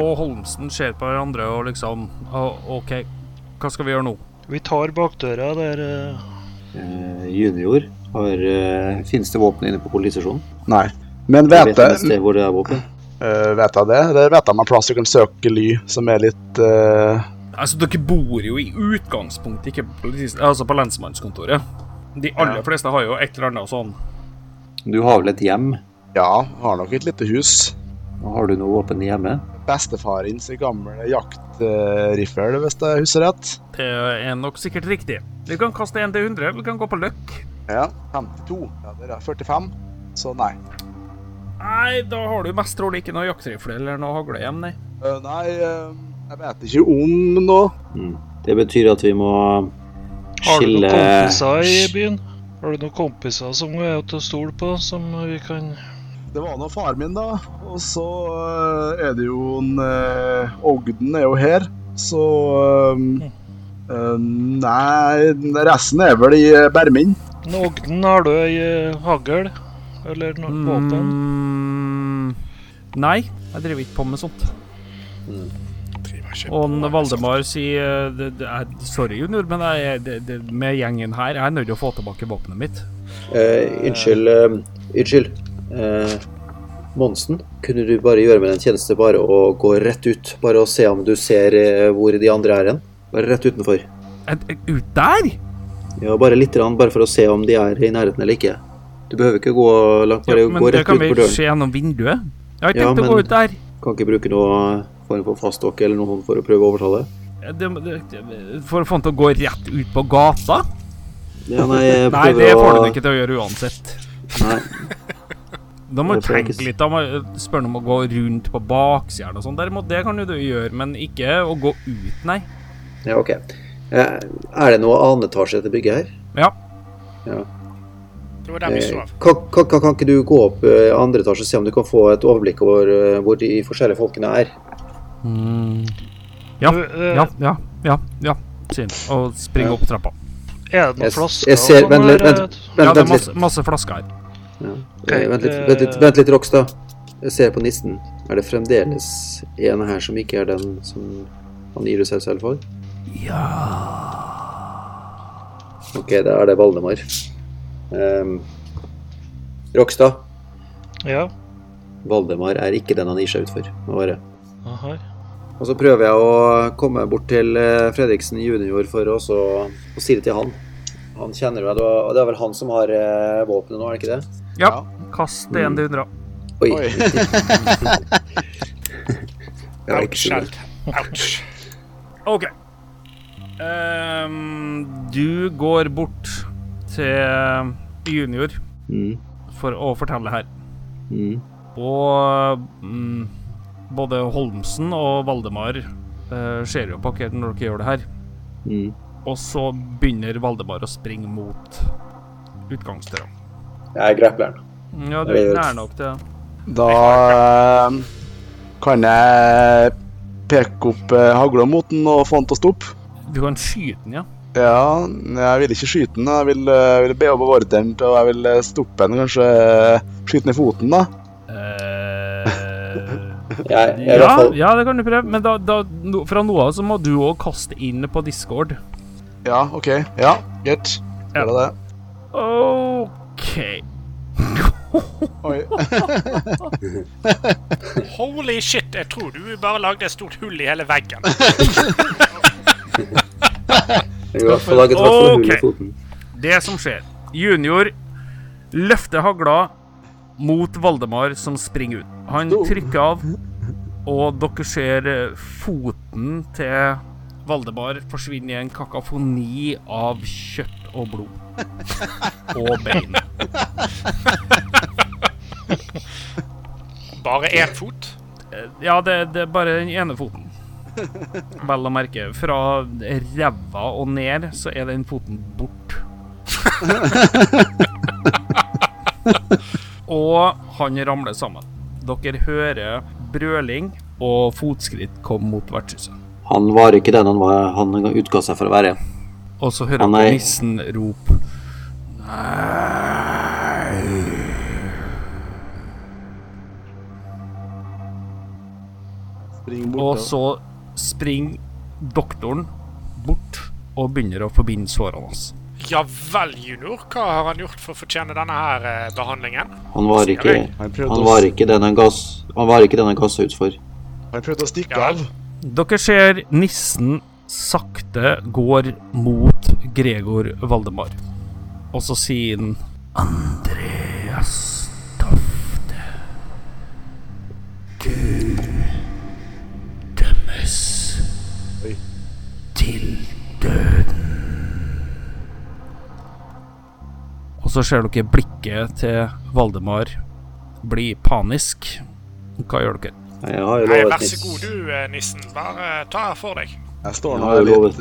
og Holmsen ser på hverandre og liksom «Å, OK, hva skal vi gjøre nå? Vi tar bakdøra der eh, Eh, junior har eh, Finnes det våpen inne på politistasjonen? Nei. Men Jeg vet vet om et jeg sted hvor det er våpen. Eh, vet jeg det? Eller vet jeg om en plass du kan søke ly, som er litt eh, Altså, dere bor jo i utgangspunktet ikke på, politis- altså på lensmannskontoret. De aller fleste har jo et eller annet sånn Du har vel et hjem? Ja, har nok et lite hus. Har du noe våpen hjemme? Bestefaren sin gamle jaktriffel, hvis jeg husker rett. Det er nok sikkert riktig. Vi kan kaste en til 100, vi kan gå på løkk. Ja. 52. Ja, det er 45. Så nei. Nei, da har du mest trolig ikke noe jaktrifle eller noe hagle igjen, nei. Eh, nei, eh, jeg vet ikke om noe. Det betyr at vi må Har du skille noen kompiser i byen? Har du noen kompiser som er til å stole på, som vi kan Det var nå faren min, da. Og så eh, er det jo en eh, Ogden er jo her, så eh, eh, Nei, resten er vel i eh, Bermin. En Ogden, har du ei eh, hagl? Eller noe våpen? Mm, nei, jeg driver ikke på med sånt. Driver ikke Og på en med Valdemar sier eh, det, det er, Sorry, junior, men jeg, det, det, med gjengen her Jeg er nødt til å få tilbake våpenet mitt. Eh, Unnskyld. eh, unnskyld. Eh, Monsen, kunne du bare gjøre meg en tjeneste bare å gå rett ut? Bare å se om du ser eh, hvor de andre er hen? Bare rett utenfor. Et, et, ut der? Ja, bare litt, rann, bare for å se om de er i nærheten eller ikke. Du behøver ikke gå langt, Ja, bare men gå det rett kan ut vi på døren. se gjennom vinduet. Jeg har ikke Ja, tenkt å men- gå ut der. Kan ikke bruke noe form for fastdokke eller noe for å prøve å overtale. Det, det, det, for å få han til å gå rett ut på gata? Ja, nei, jeg Nei, prøver det får å han ikke til å gjøre uansett. Nei. Da må Det du tenke prekes. litt. Da må jeg spørre om å gå rundt på baksiden og sånn. Derimot, det kan jo du gjøre, men ikke å gå ut, nei. Ja, ok. Eh, Er det noe annen etasje i dette bygget her? Ja. Ja. Det var der vi Eh, sov. Kan, kan, kan kan ikke du gå opp eh, andre etasje og se om du kan få et overblikk over eh, hvor de forskjellige folkene er? Hmm. Ja, Du, eh, Ja, ja, ja. ja Sier han, og springer opp trappa. Er det noen Jeg s- flasker? jeg ser- og vent, sånn vent, her, vent. Ja, Vent, det er vent litt. masse, masse flasker her. Eh, Vent litt, vent litt, vent litt Rokstad. Jeg ser på nissen. Er det fremdeles en her som ikke er den som han gir seg selv for? Ja Ok, da er det Valdemar. Um, Rokstad. eh, Ja. Valdemar er ikke den han gir seg ut for å være. Aha. Og så prøver jeg å komme bort til eh, Fredriksen junior for å også å si det til han. Han kjenner meg, det var- og det er vel han som har eh, våpenet nå, er det ikke det? Ja. Kast en til 100. Oi. Oi. Jeg har ikke Ouch. så mye. Alt. Ouch. OK. Ehm, du går bort til junior Mm, for å fortelle her. mm, Og mm, både Holmsen og Valdemar eh, ser jo på dere når dere gjør det her. mm. Og så begynner Valdemar å springe mot utgangsdøra. Jeg er grappleren. Ja, du Jeg er vet. nær nok til Da eh, kan jeg peke opp eh, hagla mot den og få den til å stoppe. Du kan skyte den, ja. Ja, jeg vil ikke skyte den. Jeg vil, eh, jeg vil be om ordren til og jeg vil eh, stoppe den, kanskje eh, skyte den i foten, da. Eh, Jeg, jeg, er i hvert ja, fall, ja, det kan du prøve, men da, da, no- fra nå av så må du òg kaste inn på discord. Ja, OK. Ja, greit. Ja. Gjør det det? OK. Oi. Holy shit, jeg tror du bare lagde et stort hull i hele veggen. jeg er i hvert fall laget i hvert fall hull Ok. i foten. Det som skjer Junior løfter hagla mot Valdemar som springer ut. Han Oh. trykker av, og dere ser eh, foten til Valdemar forsvinne i en kakafoni av kjøtt og blod. Og bein. Bare én fot. Eh, Ja, det, det er bare den ene foten. Vel å merke. Fra ræva og ned så er den foten bort. og han ramler sammen. Dere hører brøling og fotskritt komme mot vertshuset. Han var ikke den han, var, han utga seg for å være. Og så hører Å, dere nei. nissen rop. Spring Og bort. så springer doktoren bort og begynner å forbinde sårene hans. Ja vel, junior. Hva har han gjort for å fortjene denne her eh, behandlingen? Han var ikke, Sier Han han prøvde å, var ikke den han ga s- han var ikke den han ga seg ut for. han prøvde å stikke Ja. av. Dere ser nissen sakte går mot Gregor Valdemar. Og så sier han Andreas Dofte. Du dømmes Oi. til døden. Og så ser dere blikket til Valdemar bli panisk. Hva gjør dere? Nei, Jeg har jo Nei, lovet vær så Nils- god du, eh, nissen. Bare eh, ta for deg. Jeg står Jeg nå har jo litt lovet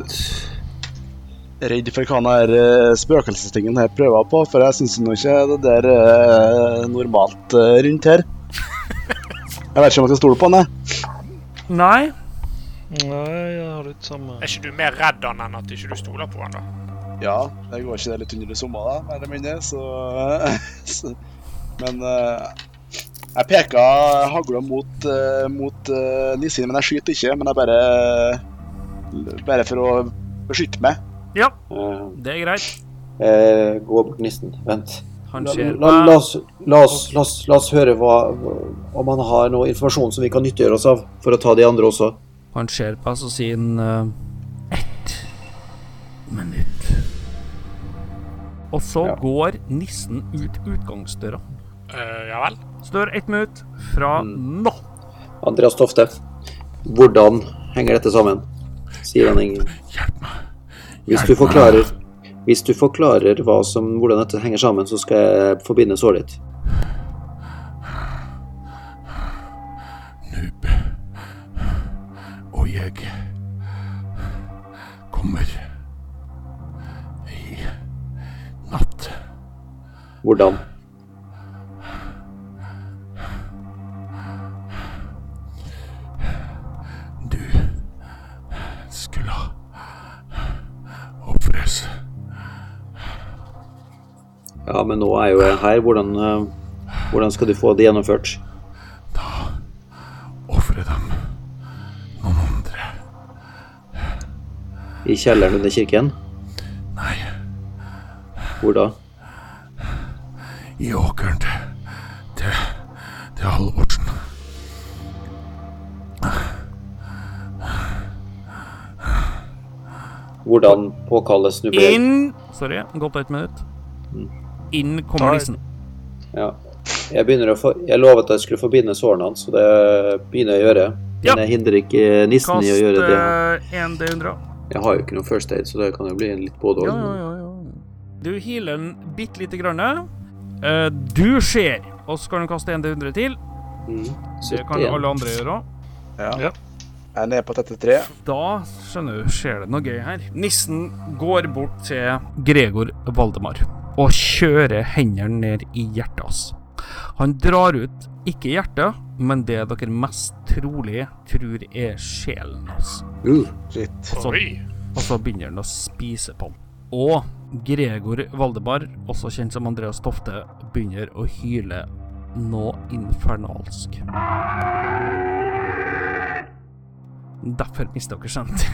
redd for hva den her eh, spøkelsestingen her prøver på, for jeg syns nå ikke det der er normalt eh, rundt her. Jeg vet ikke om jeg skal stole på han, jeg. Nei, Nei, jeg har litt samme Er ikke du mer redd han enn at ikke du stoler på han, da? Ja, det går ikke det litt under i sommer, da, mer eller mindre, så, så Men eh, jeg peka hagla mot, eh, mot eh, nissen, men jeg skyter ikke. Men jeg bare Bare for å beskytte meg. eh, det er greit. eh, Gå bort til nissen. Vent. Han La, ser la, la, oss, la, oss, la, oss, la oss høre hva, om han har noe informasjon som vi kan nyttiggjøre oss av, for å ta de andre også. Han ser på oss og sier han eh, Minutt. Og så Ja. går nissen ut utgangsdøra. Eh, ja vel. Står ett minutt fra Mm. nå. Andreas Tofte, hvordan henger dette sammen? Sier han ingen. Hvis du forklarer, hvis du forklarer hva som, hvordan dette henger sammen, så skal jeg forbinde såret ditt. kommer i natt. Hvordan? Du skulle ofres. Ja, men nå er jo jeg her. Hvordan, eh, hvordan skal du få det gjennomført? Ofre dem noen andre. I kjelleren under kirken? Nei, Hvor da? i åkeren til, til, til Halvorsen. Hvordan påkalles nublering? Inn Sorry, gått ett minutt. Mm. Inn kommer nissen. Ja. Jeg, begynner å for... jeg lovet at jeg skulle forbinde sårene hans, og det begynner jeg å gjøre. Men Ja. jeg hindrer ikke nissen Kast i å gjøre det. eh, en D100. Jeg har jo ikke noe first aid, så det kan jo bli litt både Ja, og. ja, ja, ja. Du healer den bitte lite grann. Eh, du ser, og så kan du kaste en D100 til. Det kan 71. alle andre gjøre òg. Ja. Ja. Jeg er nede på 33. Da skjønner du, skjer det noe gøy her. Nissen går bort til Gregor Valdemar og kjører hendene ned i hjertet hans. Han drar ut ikke hjertet, men det dere mest trolig tror er sjelen hans. Uh, Shit. Og så, og så begynner han å spise på den. Og Gregor Valdemar, også kjent som Andreas Tofte, begynner å hyle noe infernalsk. Derfor mister dere kjent.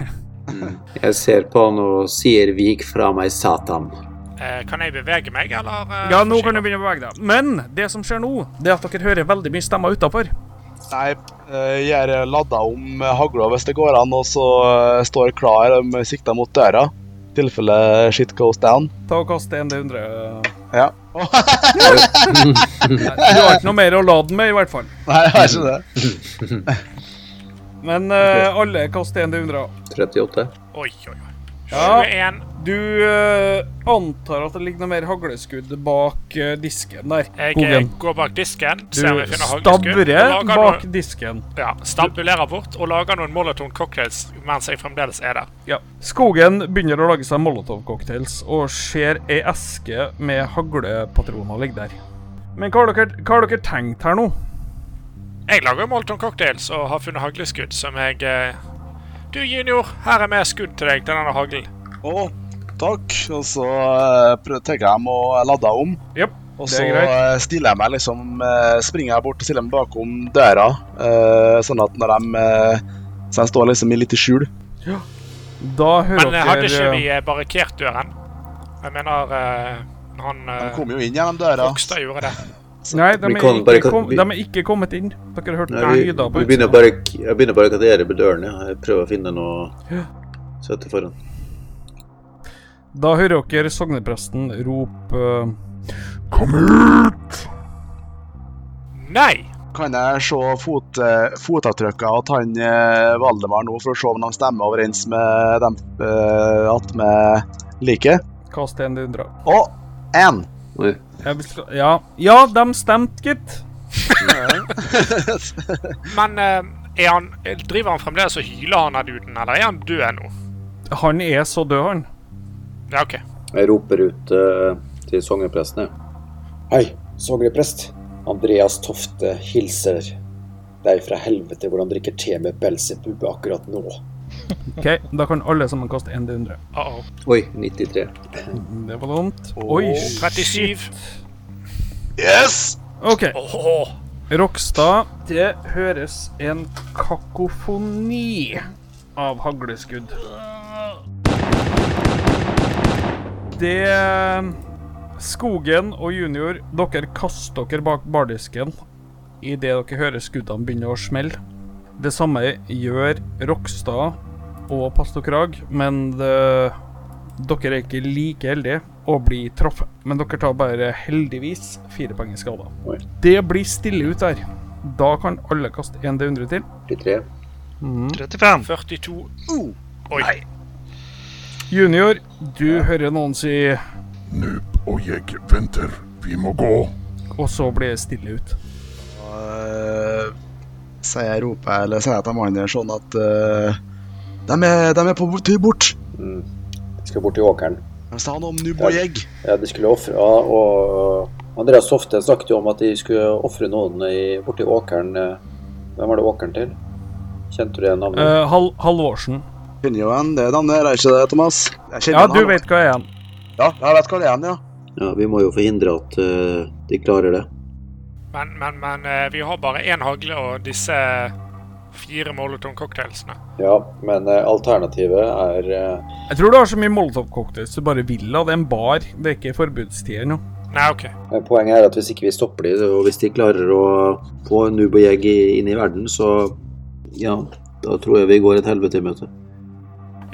Jeg ser på han og sier 'vik fra meg, Satan'. Eh, kan jeg bevege meg, eller? eh, Ja, nå forsikre? kan du begynne å bevege deg. Men det som skjer nå, det er at dere hører veldig mye stemmer utafor. Nei, eh, jeg er ladda om eh, hagla hvis det går an, og så eh, står klar med sikta mot døra. I tilfelle shit goes down. Ta og kast en D100. Ja. Nei, Du har ikke noe mer å lade den med, i hvert fall. Nei, jeg har ikke det. Men eh, alle kast en D100. 38. Oi, oi, oi. Ja. 21. Du eh, antar at det ligger noe mer hagleskudd bak eh, disken der. Jeg eh, Skogen. går bak disken, Du ser om jeg finner hagleskudd. stabrer og lager bak noen- disken. Ja, stabbulerer bort og lager noen molotov cocktails mens jeg fremdeles er der. Ja. Skogen begynner å lage seg molotovcocktails og ser ei eske med haglepatroner ligge der. Men hva har dere, hva har dere tenkt her nå? Jeg lager molotov cocktails og har funnet hagleskudd som jeg eh, Du, junior, her er mer skudd til deg til denne haglen. Mm. Å, takk. Og så eh, prøv- tenker jeg å ladde om. Japp, Og det så er eh, stiller jeg meg liksom eh, Springer jeg bort og stiller meg bakom døra, eh, sånn at når de eh, Så jeg står liksom i litt i skjul. Da hører Men eh, hadde ikke dere vi eh, barrikert døren? Jeg mener eh, han De eh, kom jo inn gjennom døra. Rogstad gjorde det. Nei, de Vi er, kan ikke barrika- kom, vi- de er ikke kommet inn. Dere hørte Nei, vi, lyder på vi begynner å utsiden. barrik- jeg begynner å barrikadere med dørene. Jeg prøver å finne noe Ja. sette foran. Da hører dere sognepresten rope eh, Nei! Kan jeg se fot, eh, fotavtrykket til han eh, Valdemar nå, for å se om de stemmer overens med dem eh, at med liket? Kast en du drar. Å, én! Jeg vil skal- Ja. ja, de stemte, gitt. Men eh, er han, driver han fremdeles og hyler han her duden, eller er han død nå? Han er så død, han. Ja, OK. Jeg roper ut eh, til sognepresten, jeg. Hei, sogneprest. Andreas Tofte hilser deg fra helvete hvor han drikker te med Belzebub akkurat nå. OK, da kan alle sammen kaste en D100. Uh -oh. Oi, 93. Det var dumt. Oi, 37. Yes! OK. Åh. Rokstad, det høres en kakofoni av hagleskudd. Det Skogen og junior, dere kaster dere bak bardisken idet dere hører skuddene begynne å smelle. Det samme gjør Rokstad og Pastor Krag, men det, dere er ikke like heldige å bli truffet. Men dere tar bare heldigvis fire poeng i skader. Det blir stille ut der. Da kan alle kaste en D100 til. 43. Mm. 35. 42. Oi. Junior, du hører noen si Noob og jeg venter. Vi må gå. Og så blir det stille ut. Uh, eh, sier jeg roper eller sier jeg til mannen der sånn at eh, de, er, de er på tur bort. Mm. De skal bort til åkeren. Hva sa han om Nubojeg? Ja, ja, de skulle ofre ja, og Andreas Softe snakket jo om at de skulle ofre noen i, borti åkeren. Hvem var det åkeren til? Kjente du igjen navnet? Uh, Hal Halvorsen. Kjenner jo igjen det navnet, er ikke det, Thomas? ja, du vet hva jeg er. Ja, jeg vet hva det er, ja. Ja, Vi må jo forhindre at uh, de klarer det. Men, men, men uh, vi har bare én hagle og disse fire Molotov-cocktailsene. Ja, men uh, alternativet er eh, Jeg tror du har så mye Molotov-cocktails du bare vil ha. Det er en bar, det er ikke forbudstider nå. Nei, ok. Poenget er at hvis ikke vi stopper de, og hvis de klarer å få Nubojeg inn i verden, så ja, da tror jeg vi går et helvete i møte.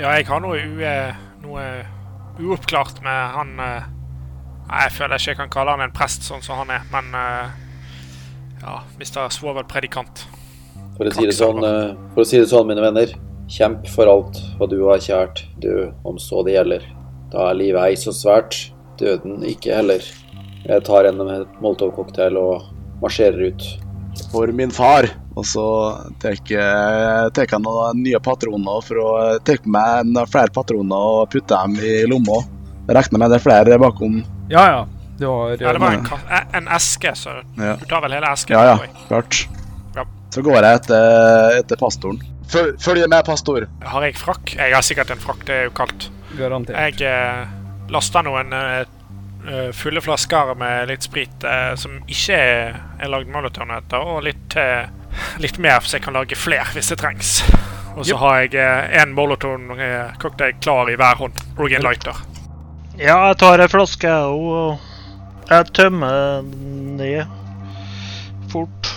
Ja, jeg har noe, u, eh, noe uoppklart med han eh, Nei, jeg føler ikke jeg kan kalle han en prest sånn som han er, men eh, ja, Mr. Svovel predikant. For å, si det sånn, for å si det sånn, mine venner. Kjemp for alt hva du har kjært, du, om så det gjelder. Da er livet ei så svært, døden ikke heller. Jeg tar en med et Molotov-cocktail og marsjerer ut. For min far. Og så tar jeg noen nye patroner for å ta med flere patroner og putte dem i lomma. Regner med det er flere bakom. Ja, ja. eh, Det ja, var, det var en, eh, en, eske, så ja. du tar vel hele esken? Ja, ja. Klart. Ja. Så går jeg etter, etter pastoren. Følg, følg med, pastor. Har jeg frakk? Jeg har sikkert en frakk, det er jo kaldt. Garantert. Jeg eh, lasta noen eh, fulle flasker med litt sprit eh, som ikke er, er lagd molotovnøtter, og litt, eh, litt mer, så jeg kan lage flere hvis det trengs. Og så yep. har jeg én eh, molotovcocktail klar i hver hånd, og en lighter. Ja, jeg tar ei flaske, og jeg tømmer ned fort.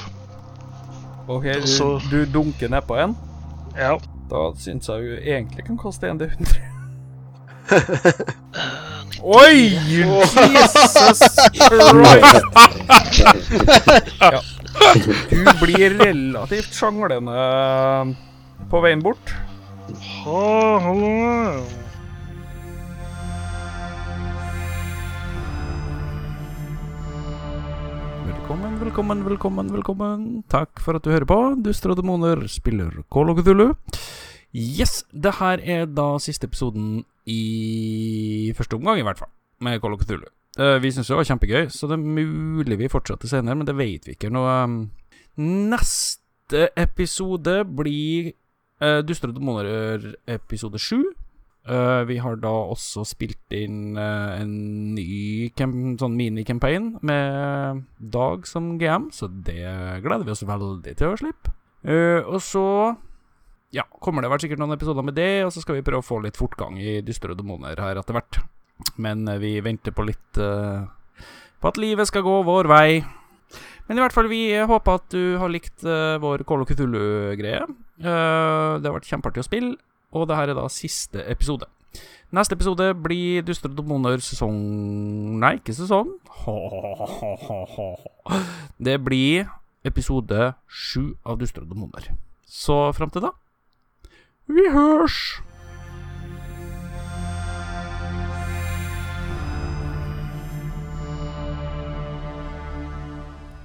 OK, du, så... du dunker nedpå en? Ja. Da syns jeg du egentlig kan kaste en D100. Oi! Jesus Christ! ja. Du blir relativt sjanglende eh, på veien bort. Velkommen, velkommen, velkommen. velkommen Takk for at du hører på. Duster og demoner spiller Kolo Cthulhu. Yes, det her er da siste episoden i første omgang, i hvert fall, med Call of Cthulhu. Uh, vi syns det var kjempegøy, så det er mulig vi fortsetter senere, men det vet vi ikke nå. ehm, Neste episode blir uh, Duster og demoner episode sju. Uh, vi har da også spilt inn uh, en ny sånn minicampaign med Dag som GM, så det gleder vi oss veldig til å slippe. Eh, og så ja, kommer det vært sikkert noen episoder med det, og så skal vi prøve å få litt fortgang i Dystre demoner her etter hvert. Men eh, vi venter på litt uh, på at livet skal gå vår vei. Men i hvert fall, vi eh, håper at du har likt uh, vår Kolo Kutulu-greie. Uh, Eh, det har vært kjempeartig å spille, og det her er da siste episode. Neste episode blir Dystre demoner sesong Nei, ikke sesong. Det blir episode sju av Dystre demoner. Så fram til da vi hørs!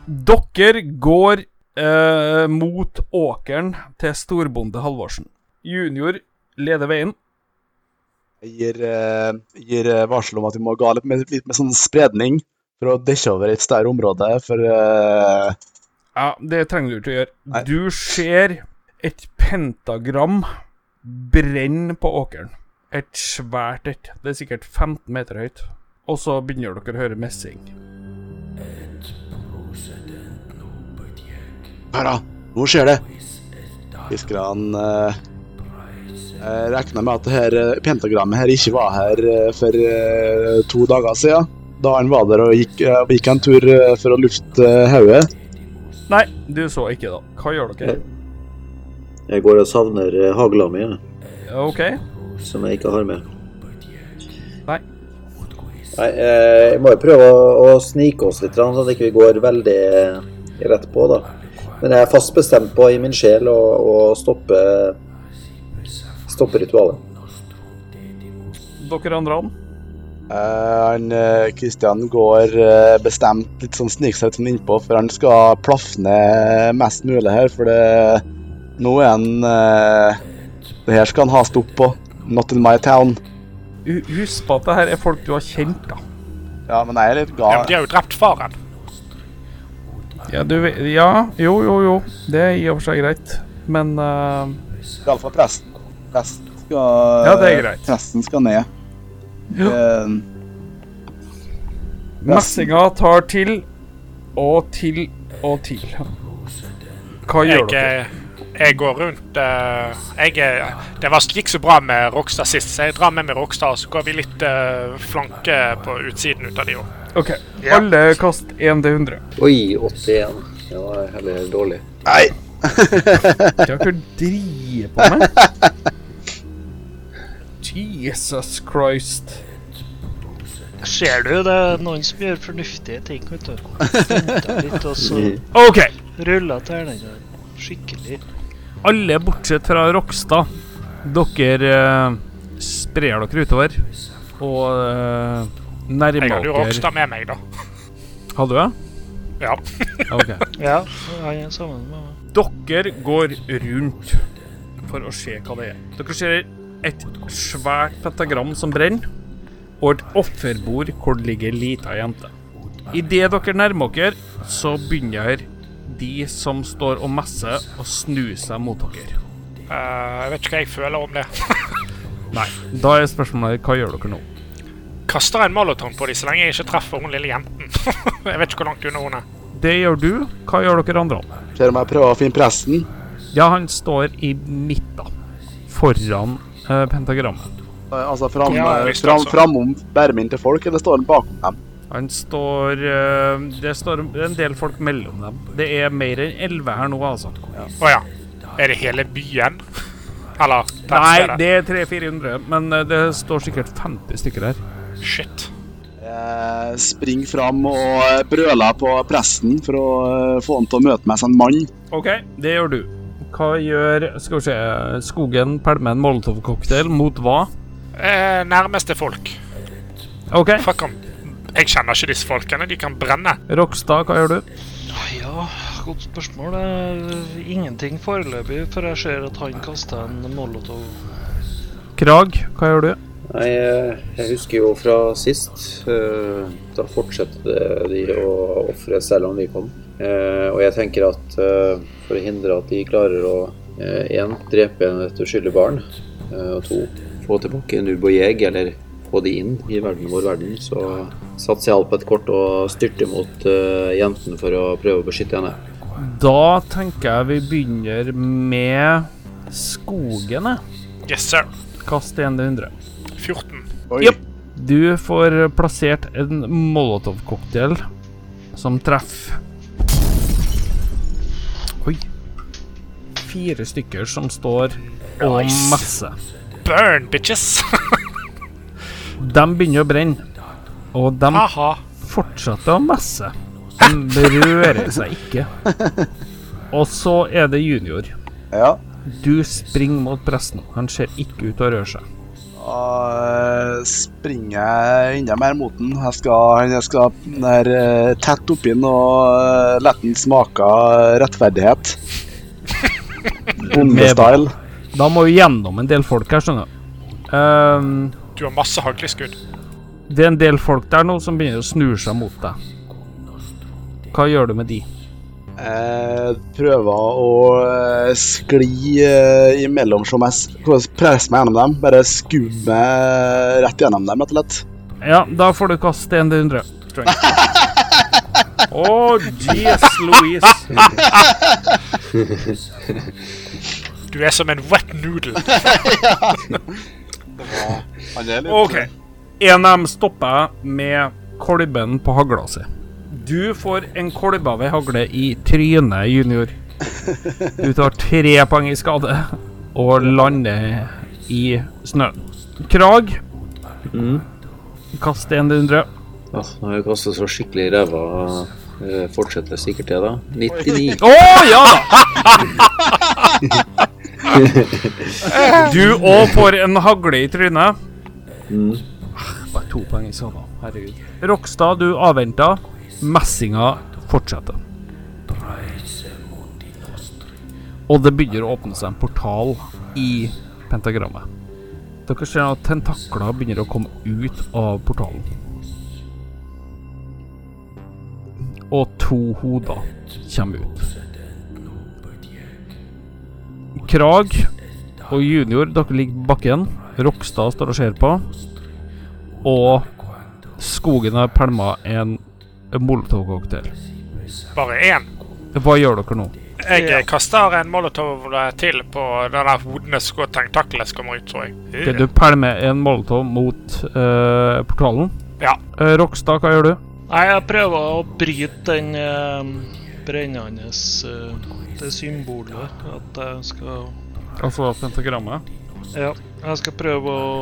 Dere går eh, mot åkeren til storbonde Halvorsen. Junior leder veien. Jeg gir, eh, gir varsel om at vi må gå litt med, litt med sånn spredning for å dekke over et større område, for eh... Ja, det trenger du ikke å gjøre. Nei. Du ser et pentagram brenn på åkeren. Et svært et. Det er sikkert 15 meter høyt. Og så begynner dere å høre messing. Her, da. Nå skjer det. Fiskerne eh, regna med at det her eh, pentagrammet her ikke var her for eh, to dager siden. Da han var der og gikk, gikk en tur eh, for å lufte hodet. Nei, du så ikke da. Hva gjør dere? Jeg går og savner hagla mi. Ok. Som jeg ikke har med. Nei. Nei, eh, jeg må jo prøve å, å snike oss litt, sånn at vi ikke går veldig eh, rett på, da. Men jeg er fast bestemt på i min sjel å, å stoppe, stoppe ritualet. Dere andre an? Eh, han Kristian går bestemt litt sånn sniker seg litt sånn innpå, for han skal plafne mest mulig her, for det nå er han eh, Det her eh, skal han ha stopp på. Not in my town. Husk på at det her er folk du har kjent, da. Ja, men jeg er litt gal. Ja, men de har jo drept faren. Ja, du vet Ja, jo, jo, jo. Det er i og for seg greit, men uh... Iallfall presten. Presten skal Ja, det er greit. Presten skal ned. Ja. Eh, Messinga tar til og til og til. Hva gjør Jeg, dere? eh, jeg går rundt eh, jeg, eh, Det var, gikk så bra med Rockstad sist, så jeg drar med meg Rockstad, og så går vi litt eh, flanke på utsiden ut av de òg. OK, alle kast 1 til 100. Oi, 81. Det var heller dårlig. Nei! Hva er det dere driver på med? Jesus Christ. Ser du, det er noen som gjør fornuftige ting, vet du. Venter litt, og så OK. ruller terningene skikkelig. Alle bortsett fra Rokstad. Dere eh, sprer dere utover og eh, nærmer Jeg hadde jo dere Rockstad med meg, da. Hadde du det? Ja. Ok. Ja, han er sammen med meg. Dere går rundt for å se hva det er. Dere ser et svært pentagram som brenner, og et offerbord hvor det ligger ei lita jente. Idet dere nærmer dere, så begynner de som står og messer, å snu seg mot dere. Eh, jeg vet ikke hva jeg føler om det. Nei. Da er spørsmålet hva gjør dere nå? Kaster en moloton på de så lenge jeg ikke treffer hun lille jenten. jeg vet ikke hvor langt unna hun er. Det gjør du. Hva gjør dere andre? Ser om jeg prøver å finne presten. Ja, han står i midten, foran eh, pentagrammet. Eh, Altså fram, Ja, eh, visst, fram, altså. framom bermen til folk, eller står han bakom dem? Han står eh, Det står en del folk mellom dem. Det er mer enn elleve her nå, altså. Å ja. Er det hele byen? Eller Nei, tettstedet? det er 300-400, men eh, det står sikkert 50 stykker her. Shit. Jeg springer Eh, fram og eh, brøler på presten for å eh, få han til å møte meg som en mann. OK, det gjør du. Hva gjør Skal vi se Skogen pælmer en molotovcocktail mot hva? Eh, nærmeste folk. OK, Fuck om. Jeg kjenner ikke disse folkene. De kan brenne. Rokstad, hva gjør du? Ah, Nei, Ja, godt spørsmål. Eh, Ingenting foreløpig, for jeg ser at han kasta en molotov. Krag, hva gjør du? Nei, eh, jeg husker jo fra sist. eh, Da fortsatte de å ofre selv om vi kom. Eh, Og jeg tenker at eh, for å hindre at de klarer å én drepe et uskyldig barn, eh, og to få tilbake Nubo Jeg, eller få de inn i verden vår verden, så satser jeg alt på et kort og styrter mot eh, jenten for å prøve å beskytte henne. Da tenker jeg vi begynner med skogen, jeg. Yes, sir. Kast 100. 14. Oi. Japp. Du får plassert en molotovcocktail som treffer. Oi. Fire stykker som står og Nice. messer. Burn, bitches! De begynner å brenne, og de Aha. fortsetter å messe. De rører seg ikke. Og så er det junior. Ja. Du springer mot presten. Han ser ikke ut til å røre seg. Da eh, springer jeg enda mer mot den. Jeg skal, jeg skal nær, eh, tett oppi den og eh, la den smake av rettferdighet. Bondestyle. Da må vi gjennom en del folk her, skjønner du. Ehm, Du har masse hagleskudd. Det er en del folk der nå som begynner å snu seg mot deg. Hva gjør du med de? Jeg Eh, prøver å eh, skli eh, imellom som jeg s- hvordan presser meg gjennom dem. Bare skuer meg rett gjennom dem, rett og slett. Ja, da får du kaste en til 100. Strength. Å, jeez Louise. Du er som en wet noodle. OK. En av dem stopper jeg med kolben på hagla si. Du får en kolbe av ei hagle i trynet, junior. Du tar tre poeng i skade og lander i snøen. Krag, Mm. kast en til 100. Ja, nå har jeg kastet så skikkelig i ræva. eh, Fortsetter sikkert det, da. 99. Å ja da! Du òg får en hagle i trynet. Mm. Bare to poeng i skada. Herregud. Rokstad, du avventa. Messinga fortsetter. Og det begynner å åpne seg en portal i pentagrammet. Dere ser at tentakler begynner å komme ut av portalen. Og to hoder kommer ut. Krag og Junior, dere ligger på bakken. Rokstad står og ser på. Og skogen har pælma en molotovcocktail. Bare én? Hva gjør dere nå? Jeg eh, kaster en molotov eh, til på den der hodene som tentaklet kommer ut, tror jeg. Ok, du pælmer en molotov mot eh, portalen. Ja. Eh, Rokstad, hva gjør du? Nei, jeg prøver å bryte den eh, brennende eh, Det symbolet at jeg skal Altså pentagrammet? Ja. Jeg skal prøve å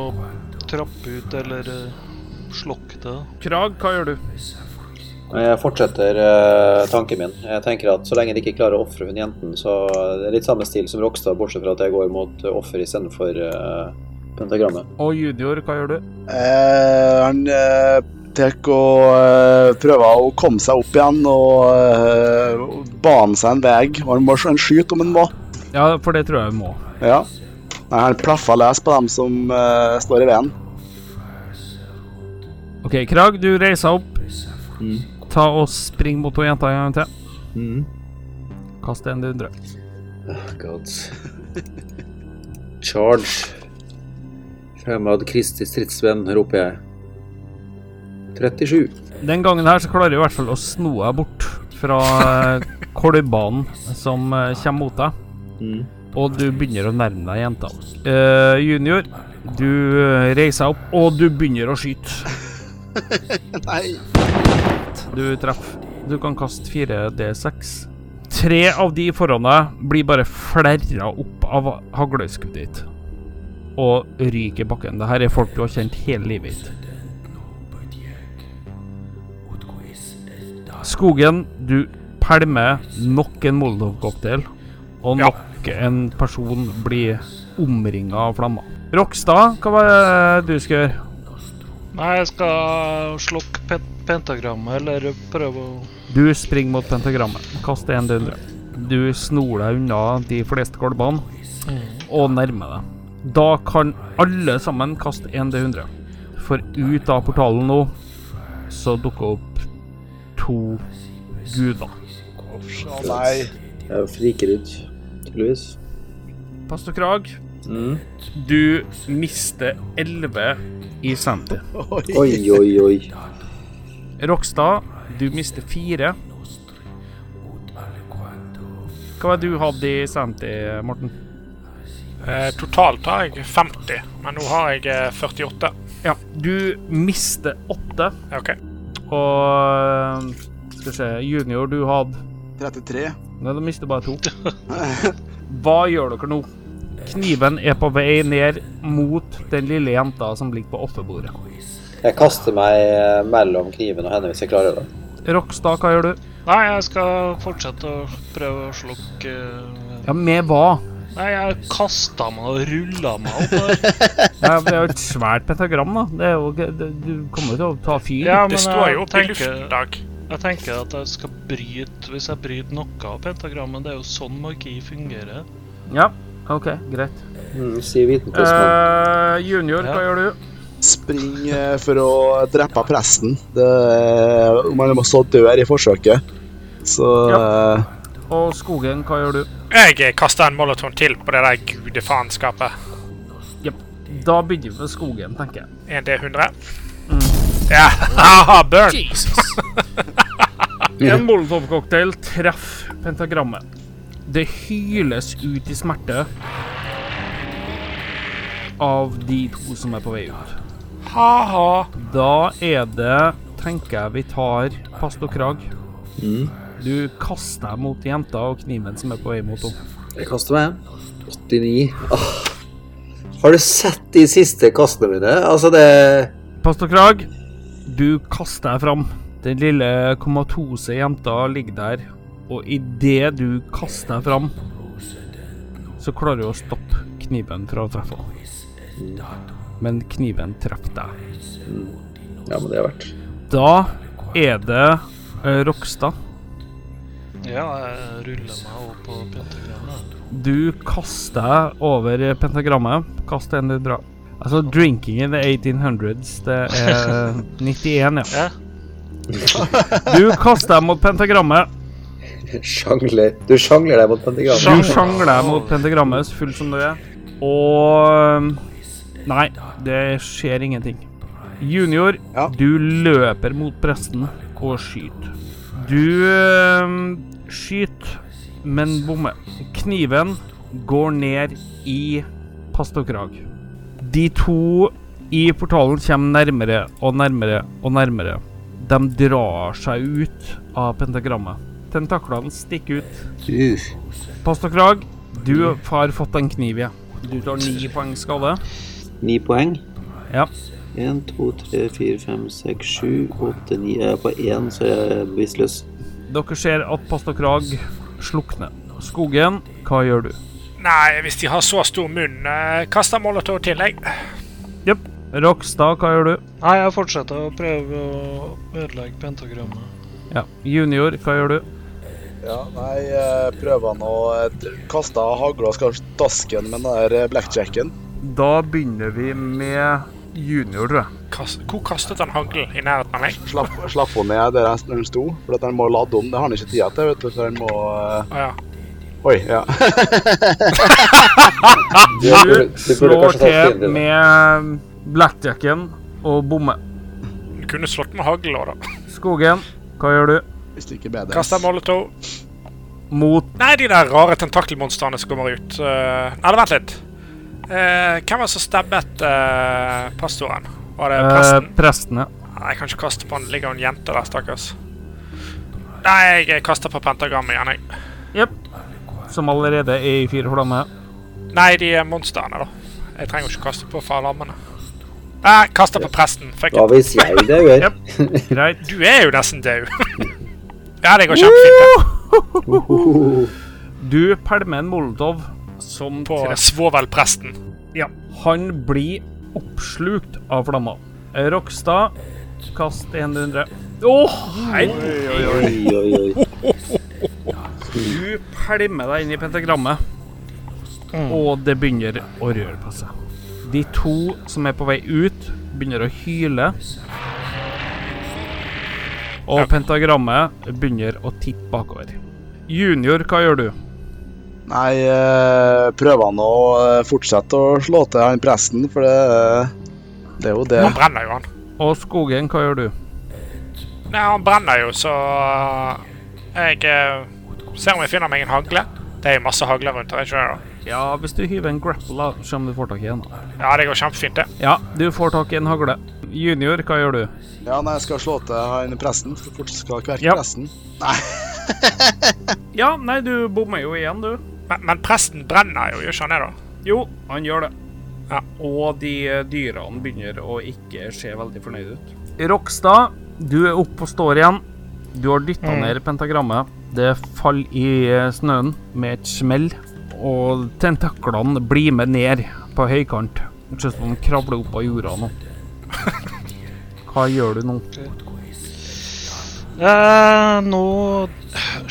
trappe ut eller eh, slokke det. Krag, hva gjør du? Jeg fortsetter eh, tanken min. Jeg tenker at Så lenge de ikke klarer å ofre hun jenten, så det er litt samme stil som Rokstad, bortsett fra at jeg går mot eh, offer istedenfor uh, pentagrammet. Og junior, hva gjør du? Eh, han eh, tar og eh, prøver å komme seg opp igjen og eh, bane seg en vei. Han må han skyte om han må. Ja, for det tror jeg vi må. Ja. Nei, han plaffer løs på dem som eh, står i veien. Ok, Krag, du reiser opp. Ta og spring mot to jenter en gang til. Kast en dundre. Gods. Charge. Fremad Kristi stridsvenn, roper jeg. 37. Den gangen her så klarer jeg i hvert fall å sno deg bort fra eh, kolbanen som eh, kommer mot deg. Og du begynner å nærme deg jenta. Eh, junior, du eh, reiser opp, og du begynner å skyte. Nei. Du treffer. Du kan kaste 4D6. Tre av de foran deg blir bare flerra opp av hagleskuddet ditt. Og ryker i bakken. Dette er folk du har kjent hele livet ditt. Skogen, du pælmer nok en molotovcocktail, og nok en person blir omringa av flammer. Rokstad, hva var det du skal gjøre? Nei, jeg skal slokke pe pentagrammet eller prøve å Du springer mot pentagrammet. Kast en dundre. Du snor deg unna de fleste kolbene og nærmer deg. Da kan alle sammen kaste en D100. For ut av portalen nå så dukker opp to guder. Nei. Jeg friker ut, tydeligvis. Pastor Krag, du mister 11 i senter. Oi, oi, oi. Rokstad, du mister 4. Hva var det du hadde i senter, Morten? Eh, totalt har jeg 50, men nå har jeg eh, 48. Ja, du mister 8. Ok. Og eh, skal vi se Junior, du hadde 33. Nei, du mister bare to. Hva gjør dere nå? Kniven er på vei ned mot den lille jenta som ligger på offerbordet. Jeg kaster meg eh, mellom kniven og henne hvis jeg klarer det. Rokstad, hva gjør du? Nei, jeg skal fortsette å prøve å slokke eh, Ja, med hva? Nei, jeg kasta meg og rulla meg opp der. Ja, det er jo et svært pentagram, da. Det er jo, det, du kommer jo til å ta fyr. Ja, men det står jeg jo opp i tenker- luften, Dag. Jeg tenker at jeg skal bryte Hvis jeg bryter noe av pentagrammet Det er jo sånn magi fungerer. Ja, OK, greit. Mm, si vitenskapsmann. Eh, junior, hva gjør du? Spring eh, for å drepe presten. Det, er- man må så dør i forsøket. Så eh, Og Skogen, hva gjør du? Jeg eh, kaster en molotov til på det der gudefaenskapet. Da begynner vi med Skogen, tenker jeg. 1D100. Mm. Ja, haha, burn! Jesus. En molotovcocktail treffer pentagrammet. Det hyles ut i smerte av de to som er på vei ut. Ha-ha. Da er det, tenker jeg vi tar pastor Krag. Du kaster deg mot jenta og kniven som er på vei mot henne. Jeg kaster meg. 89. Åh. Har du sett de siste kastene mine? Altså, det Pastor Krag, du kaster deg fram. Den lille komatose jenta ligger der, og idet du kaster deg fram, så klarer du å stoppe kniven fra å treffe henne. Men kniven treffer deg. Ja, men det er verdt. Da er det eh, Rokstad. Ja, jeg ruller meg over på pentagrammet. Du kaster deg over pentagrammet. Kast en du drar. Altså, drinking in the 1800s, det er 91, ja. Du kaster deg mot pentagrammet. Sjangler. Du sjangler deg mot pentagrammet. Du sjangler deg mot pentagrammet, så full som du er. Og Nei, det skjer ingenting. Junior, ja. du løper mot presten og skyter. Du øh, skyter, men bommer. Kniven går ned i pastokrag. De to i portalen kommer nærmere og nærmere og nærmere. De drar seg ut av pentagrammet. Tentaklene stikker ut. Pastokrag, du har fått en kniv, ja. Du tar ni poeng skade. Ni poeng? Ja. 1, 2, 3, 4, 5, 6, 7, 8, 9 Jeg er på 1, så jeg er bevisstløs. Dere ser at Pastokrag slukner. Skogen, hva gjør du? Nei, hvis de har så stor munn, eh, kaster molotov til, jeg. Jepp. Rokstad, hva gjør du? Nei, Jeg fortsetter å prøve å ødelegge pentagrammet. Ja. Junior, hva gjør du? Ja, nei, jeg prøver nå å eh, kaste hagla og dasken med den der eh, blackjacken. Da begynner vi med junior, tror jeg. Kast, hvor kastet han haglen i nærheten av meg? Slapp, slapp henne ned der den sto, for at den må lade om. Det har han ikke tid til, vet du, så den må uh... ah, ja. Oi, ja. du slår til med blackjacken og bommer. Du kunne slått med hagla, da. Skogen, hva gjør du? Hvis ikke bedre. Kaster molotov. Mot Nei, de der rare tentakelmonstrene som kommer ut. Uh, nei, vent litt. Eh, hvem var det som stabbet eh, pastoren? Var det presten? Eh, presten, ja. Nei, jeg kan ikke kaste på han. Det ligger en jente der, stakkars. Nei, jeg kaster på pentagrammet igjen, jeg. Jepp. Som allerede er i fire flammer. Nei, de er monstrene, da. Jeg trenger ikke kaste på farlammene. Nei, kaster på presten. Fuck Hva hvis jeg dauer? Greit. Du er jo nesten død. ja, det går kjempefint. Det. Du pælmer en molotov som På svovelpresten. Ja. Han blir oppslukt av flamma. Rokstad, kast 100. Å, oh, hei! Oi, oi, oi. Du pælmer deg inn i pentagrammet, mm. og det begynner å røre på seg. De to som er på vei ut, begynner å hyle. Og pentagrammet begynner å tippe bakover. Junior, hva gjør du? Nei, prøver han å eh, fortsette å slå til han presten, for det, eh, det er jo det. Han brenner jo, han. Og skogen, hva gjør du? Nei, han brenner jo, så eh, jeg ser om jeg finner meg en hagle. Det er jo masse hagler rundt her, ikke sant? Ja, hvis du hiver en grapple, så kommer du får tak i en. Ja, det går kjempefint, det. Ja, du får tak i en hagle. Junior, hva gjør du? Ja, nei, jeg skal slå til han presten. For fortsatt skal kverke ja. presten. Nei. ja, nei, du bommer jo igjen, du. Men, men, presten brenner jo, gjør ikke han det? da? Jo, han gjør det. Ja. Og de eh, dyrene begynner å ikke se veldig fornøyd ut. Rokstad, du er oppe og står igjen. Du har dytta mm. ned pentagrammet. Det faller i eh, snøen med et smell, og tentaklene blir med ned på høykant. Ser ut som de kravler opp av jorda nå. Hva gjør du nå? Eh, nå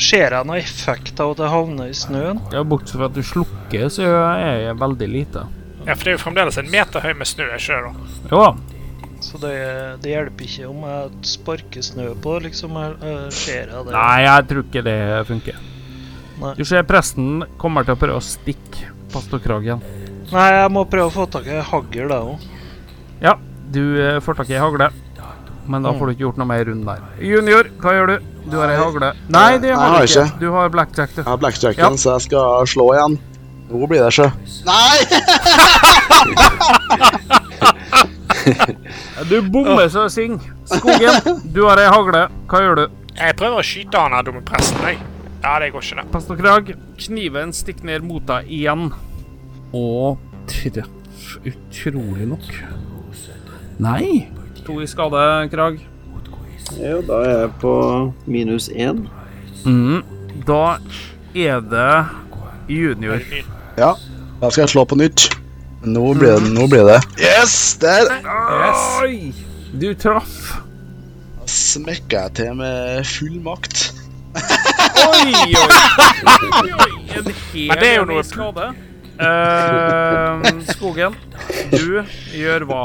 ser jeg noe effekt av at det havner i snøen. Ja, Bortsett fra at du slukker, så er jeg veldig lite. Ja, for det er jo fremdeles en meter høy med snø i sjøen. Jo da. Så det, det, hjelper ikke om jeg sparker snø på liksom ser jeg det. Nei, jeg tror ikke det funker. Nei. Du ser presten kommer til å prøve å stikke pastokragen. Nei, jeg må prøve å få tak i hagl, da òg. Ja, du eh, får tak i hagle men da får du ikke gjort noe mer rundt der. Junior, hva gjør du? Du har ei hagle. Nei, det har du ikke. Du har blackjack, du. Jeg har blackjacken, ja. så jeg skal slå igjen. Nå blir det sjø. Nei! du bommer så sing. Skogen, du har ei hagle. Hva gjør du? Jeg prøver å skyte han her dumme presten, jeg. Ja, det går ikke, det. Pastor Krag, kniven stikker ned mot deg igjen. Og treff utrolig nok. Nei. To i skade, Krag. Ja, da er jeg på minus én. Mm, da er det junior. Ja, da skal jeg slå på nytt. Nå blir det, nå blir det. Yes! Der! Yes. Du traff. Da smekker jeg til med full makt. oi, oi, oi, oi. En hel skade. Eh, skogen, du gjør hva?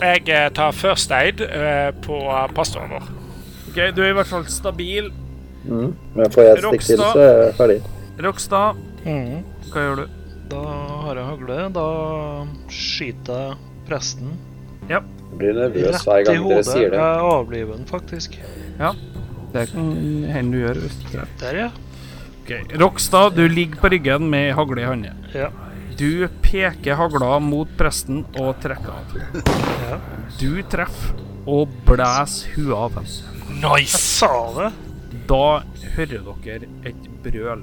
Jeg tar first aid eh, på pastoren vår. OK, du er i hvert fall stabil. Mm. Men får jeg et stikk til, så er jeg ferdig. Rokstad, Mhm. hva gjør du? Da har jeg hagle. Da skyter jeg presten. Ja. Jeg blir nervøs hver gang dere sier det. Jeg avliver den faktisk. Ja. Det kan hende du gjør. hvis du treffer. Der, ja. Ok, Rokstad, du ligger på ryggen med hagle i hånda. Ja. Du peker hagla mot presten og trekker av. Du treffer og blæser huet av ham. Nice! Jeg sa det. Da hører dere et brøl.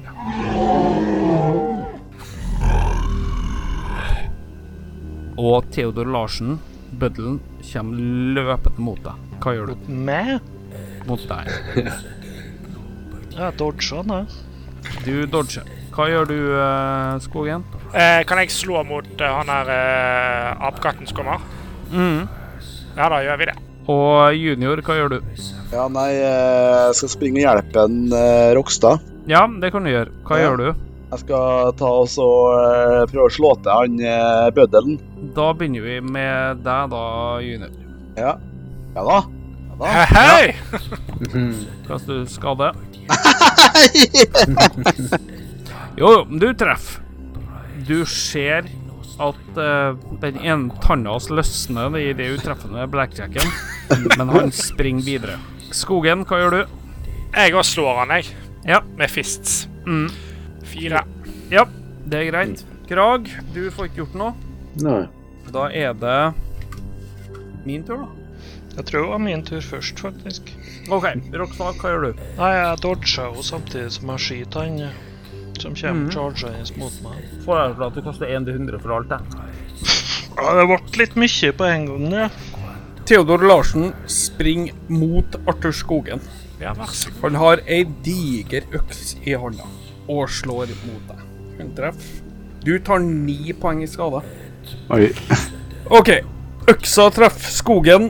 Og Theodor Larsen, bøddelen, kommer løpende mot deg. Hva gjør du? Meg? Mot deg. Jeg dodger den, jeg. Du dodger. Hva gjør du, eh, Skogen? Eh, kan jeg slå mot eh, han her eh, apekatten som kommer? Mhm. Ja, da gjør vi det. Og junior, hva gjør du? Ja, nei, eh, jeg skal springe og hjelpe en eh, Rokstad. Ja, det kan du gjøre. Hva Ja. gjør du? Jeg skal ta og så eh, prøve å slå til han eh, bøddelen. Da begynner vi med deg, da, junior. Ja. Ja da. Ja da. Hei! Kast du skade. jo, jo, men du treffer. Du ser at eh, den ene tanna hans løsner i det utreffende blackjacken, men han springer videre. Skogen, hva gjør du? Jeg òg slår han, jeg. Ja. Med fists. Mm. Fire. Ja, det er greit. Krag, du får ikke gjort noe. Nei. Da er det min tur, da. Jeg tror det var min tur først, faktisk. OK, Rockstad, hva gjør du? Nei, jeg dodger jo samtidig som jeg skyter han eh, som kommer Mhm. chargende mot meg. Får jeg at du kaster 1 til 100 for alt, jeg. Ja, det ble litt mye på en gang, det. Theodor Larsen springer mot Arthur Skogen. Ja, vær så god. Han har ei diger øks i hånda og slår mot deg. Hun treffer. Du tar ni poeng i skade. Oi. OK. Øksa treffer Skogen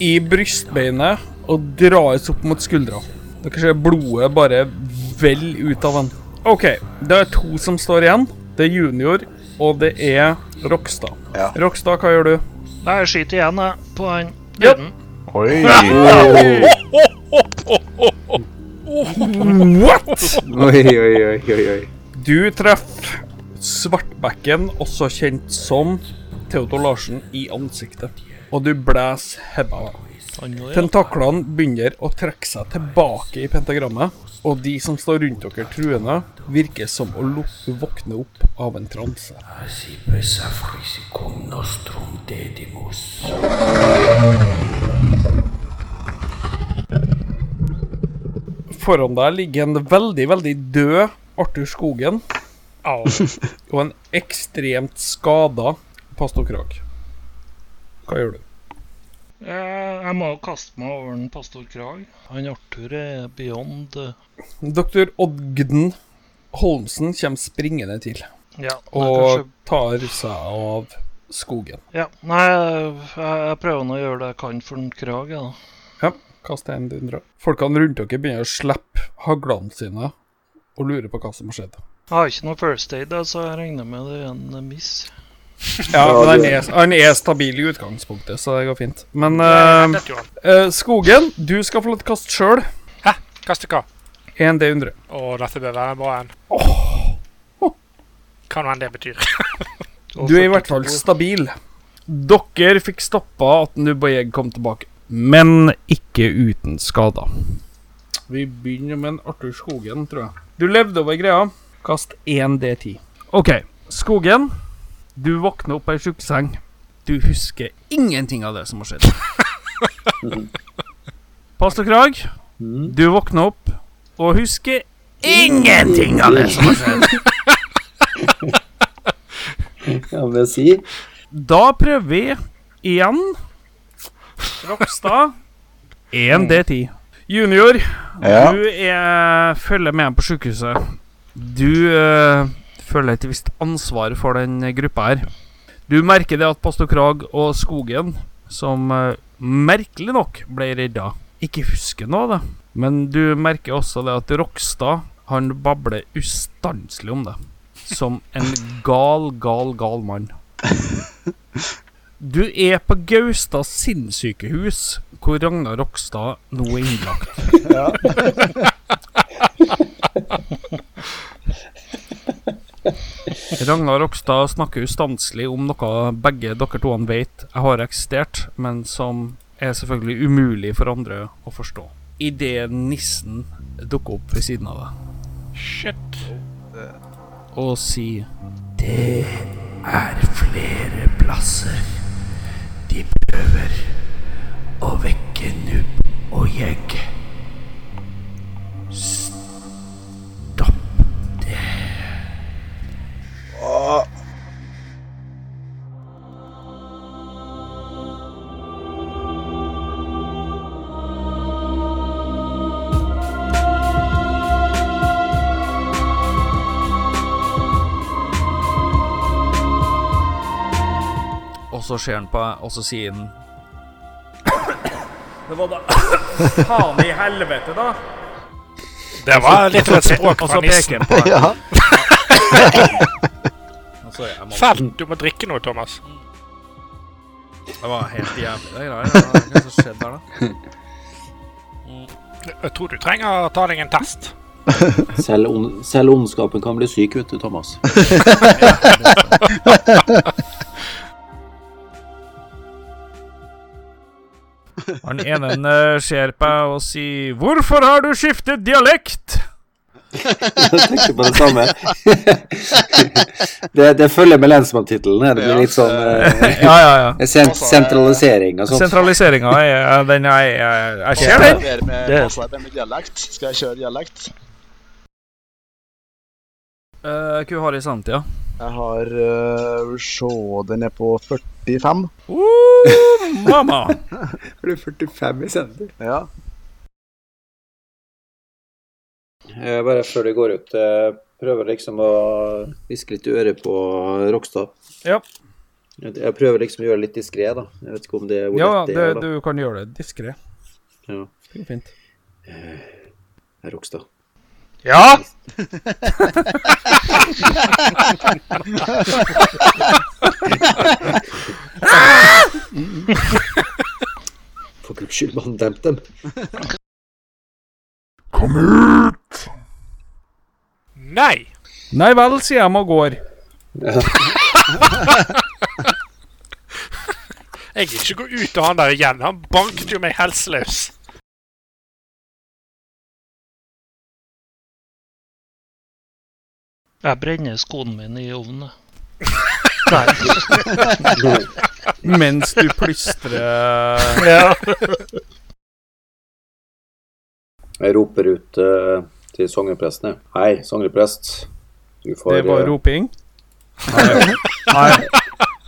i brystbeinet og dras opp mot skuldra. Dere ser blodet bare vel ut av den. OK, det er to som står igjen. Det er Junior, og det er Rokstad. Ja. Rokstad, hva gjør du? Nei, jeg skyter igjen, jeg, på han. Ja. Oi. What?! Oi, oi, oi, oi, oi. Du treffer Svartbekken, også kjent som Theodor Larsen, i ansiktet. Og du blæser hebba. Tentaklene begynner å trekke seg tilbake i pentagrammet, og de som står rundt dere truende, virker som å lukke våkne opp av en transe. Así pesafris y con nostrum dedimus. Foran deg ligger en veldig, veldig død Arthur Skogen. Au. og en ekstremt skada pastor Krag. Hva gjør du? Eh, Jeg må jo kaste meg over den pastor Krag. Han Arthur er beyond eh, Dr. Odgden Holmsen kommer springende til Ja, nei, og kanskje- tar seg av skogen. Ja, nei, jeg, jeg prøver nå å gjøre det jeg kan for den Krag, jeg, da. Ja, kast en dundra. Folkene rundt dere begynner å slippe haglene sine og lurer på hva som har skjedd. Jeg har ikke noe first aid, da, så jeg regner med det er en miss. Ja, men han er, han er stabil i utgangspunktet, så det går fint. Men Ehm, Nei, eh, dette gjorde eh, Skogen, du skal få lov til å kaste sjøl. Hæ? Kaste hva? 1 D100. Å, dette bør være en bra en. Hva nå enn det betyr. Du er i hvert fall stabil. Dere fikk stoppa at Nubayeg kom tilbake. Men ikke uten skader. Vi begynner med en Arthur Skogen, tror jeg. Du levde over greia. Kast 1 D10. OK. Skogen, du våkner opp ei sjukeseng. Du husker ingenting av det som har skjedd. Pastor Krag, du våkner opp og husker ingenting av det som har skjedd. Ja, men jeg sier Da prøver vi igjen. Rokstad. Mm. 1D10. Junior, Ja. du er, følger med på sykehuset. Du eh, føler et visst ansvar for den gruppa her. Du merker det at pastor Krag og Skogen, som eh, merkelig nok ble redda, ikke husker noe av det. Men du merker også det at Rokstad han babler ustanselig om det. som en gal, gal, gal mann. Du er på Gaustad sinnssykehus, hvor Ragnar Rokstad nå er innlagt. Ja. Ragnar Rokstad snakker ustanselig om noe begge dere to vet jeg har eksistert, men som er selvfølgelig umulig for andre å forstå. Idet nissen dukker opp ved siden av deg Shit. og sier Det er flere plasser. De prøver å vekke Nubb og Jegg. Stopp det. Og så ser han på meg, og så sier han Det var da Faen i helvete, da. Det var litt av et språk Og fra så peker nissen. han på meg. Ja. Altså, jeg må- Fell, du må drikke noe, Thomas. Det var helt jævlig, det greia. Hva er det som skjedde der, da? Jeg tror du trenger å ta deg en test. Selv, on selv ondskapen kan bli syk, vet du, Thomas. Han ene eh, ser på meg og sier 'Hvorfor har du skiftet dialekt?' Jeg tenkte på det samme. det, det følger med lensmanntittelen. Det blir litt sånn eh, Ja, ja, ja. det er Sent Altså, sentralisering eh, og sånt. Sentraliseringa er den jeg, jeg, jeg ser den. Passer med, Det- passer bedre med dialekt. Skal jeg kjøre dialekt? Eh, Hva har jeg i samtida? Jeg har eh, uh, Se, den er på 45. mamma! Er du 45 i senter? Ja. Eh, Bare før du går ut, eh, prøver liksom å Hviske litt i øret på Rokstad. Ja. Jeg jeg prøver liksom å gjøre det litt diskré, da. Jeg vet ikke om det er hvor Ja, lett det det, er. da. du kan gjøre det diskré. Ja. Det går fint. Herr Eh, Rokstad. Ja? For guds skyld, mann, demp dem. Kom ut! Nei. Nei vel, sier jeg og går. Jeg vil ikke gå ut til han der igjen. Han banket jo meg helseløs. Jeg brenner skoene mine i ovnen. Mens du plystrer eh, Ja. Jeg roper ut eh, til sognepresten. jeg. Hei, sogneprest. Du får Det var eh, roping. Nei. Nei.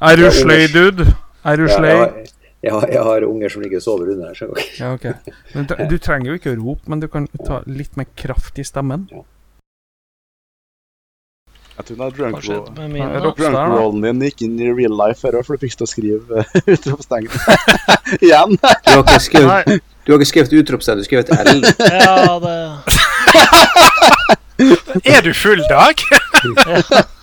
Er du Jeg er sløy, ungers- dude? Er du Ja, sløy? jeg, har- jeg, har- jeg har unger som ligger og sover under her. Så. Ja, ok. Men da- du trenger jo ikke å rope, men du kan ta litt mer kraft i stemmen. Jeg tror den er drunk Hva skjedde med roll- min, da? drunk Rockstar, da? rollen din gikk inn i real life før, for du fikk til å skrive eh, utropstegn. Igjen. Du har ikke skrevet, du har ikke skrevet utropstegn, du har skrevet L. Ja, det Er du full, Dag?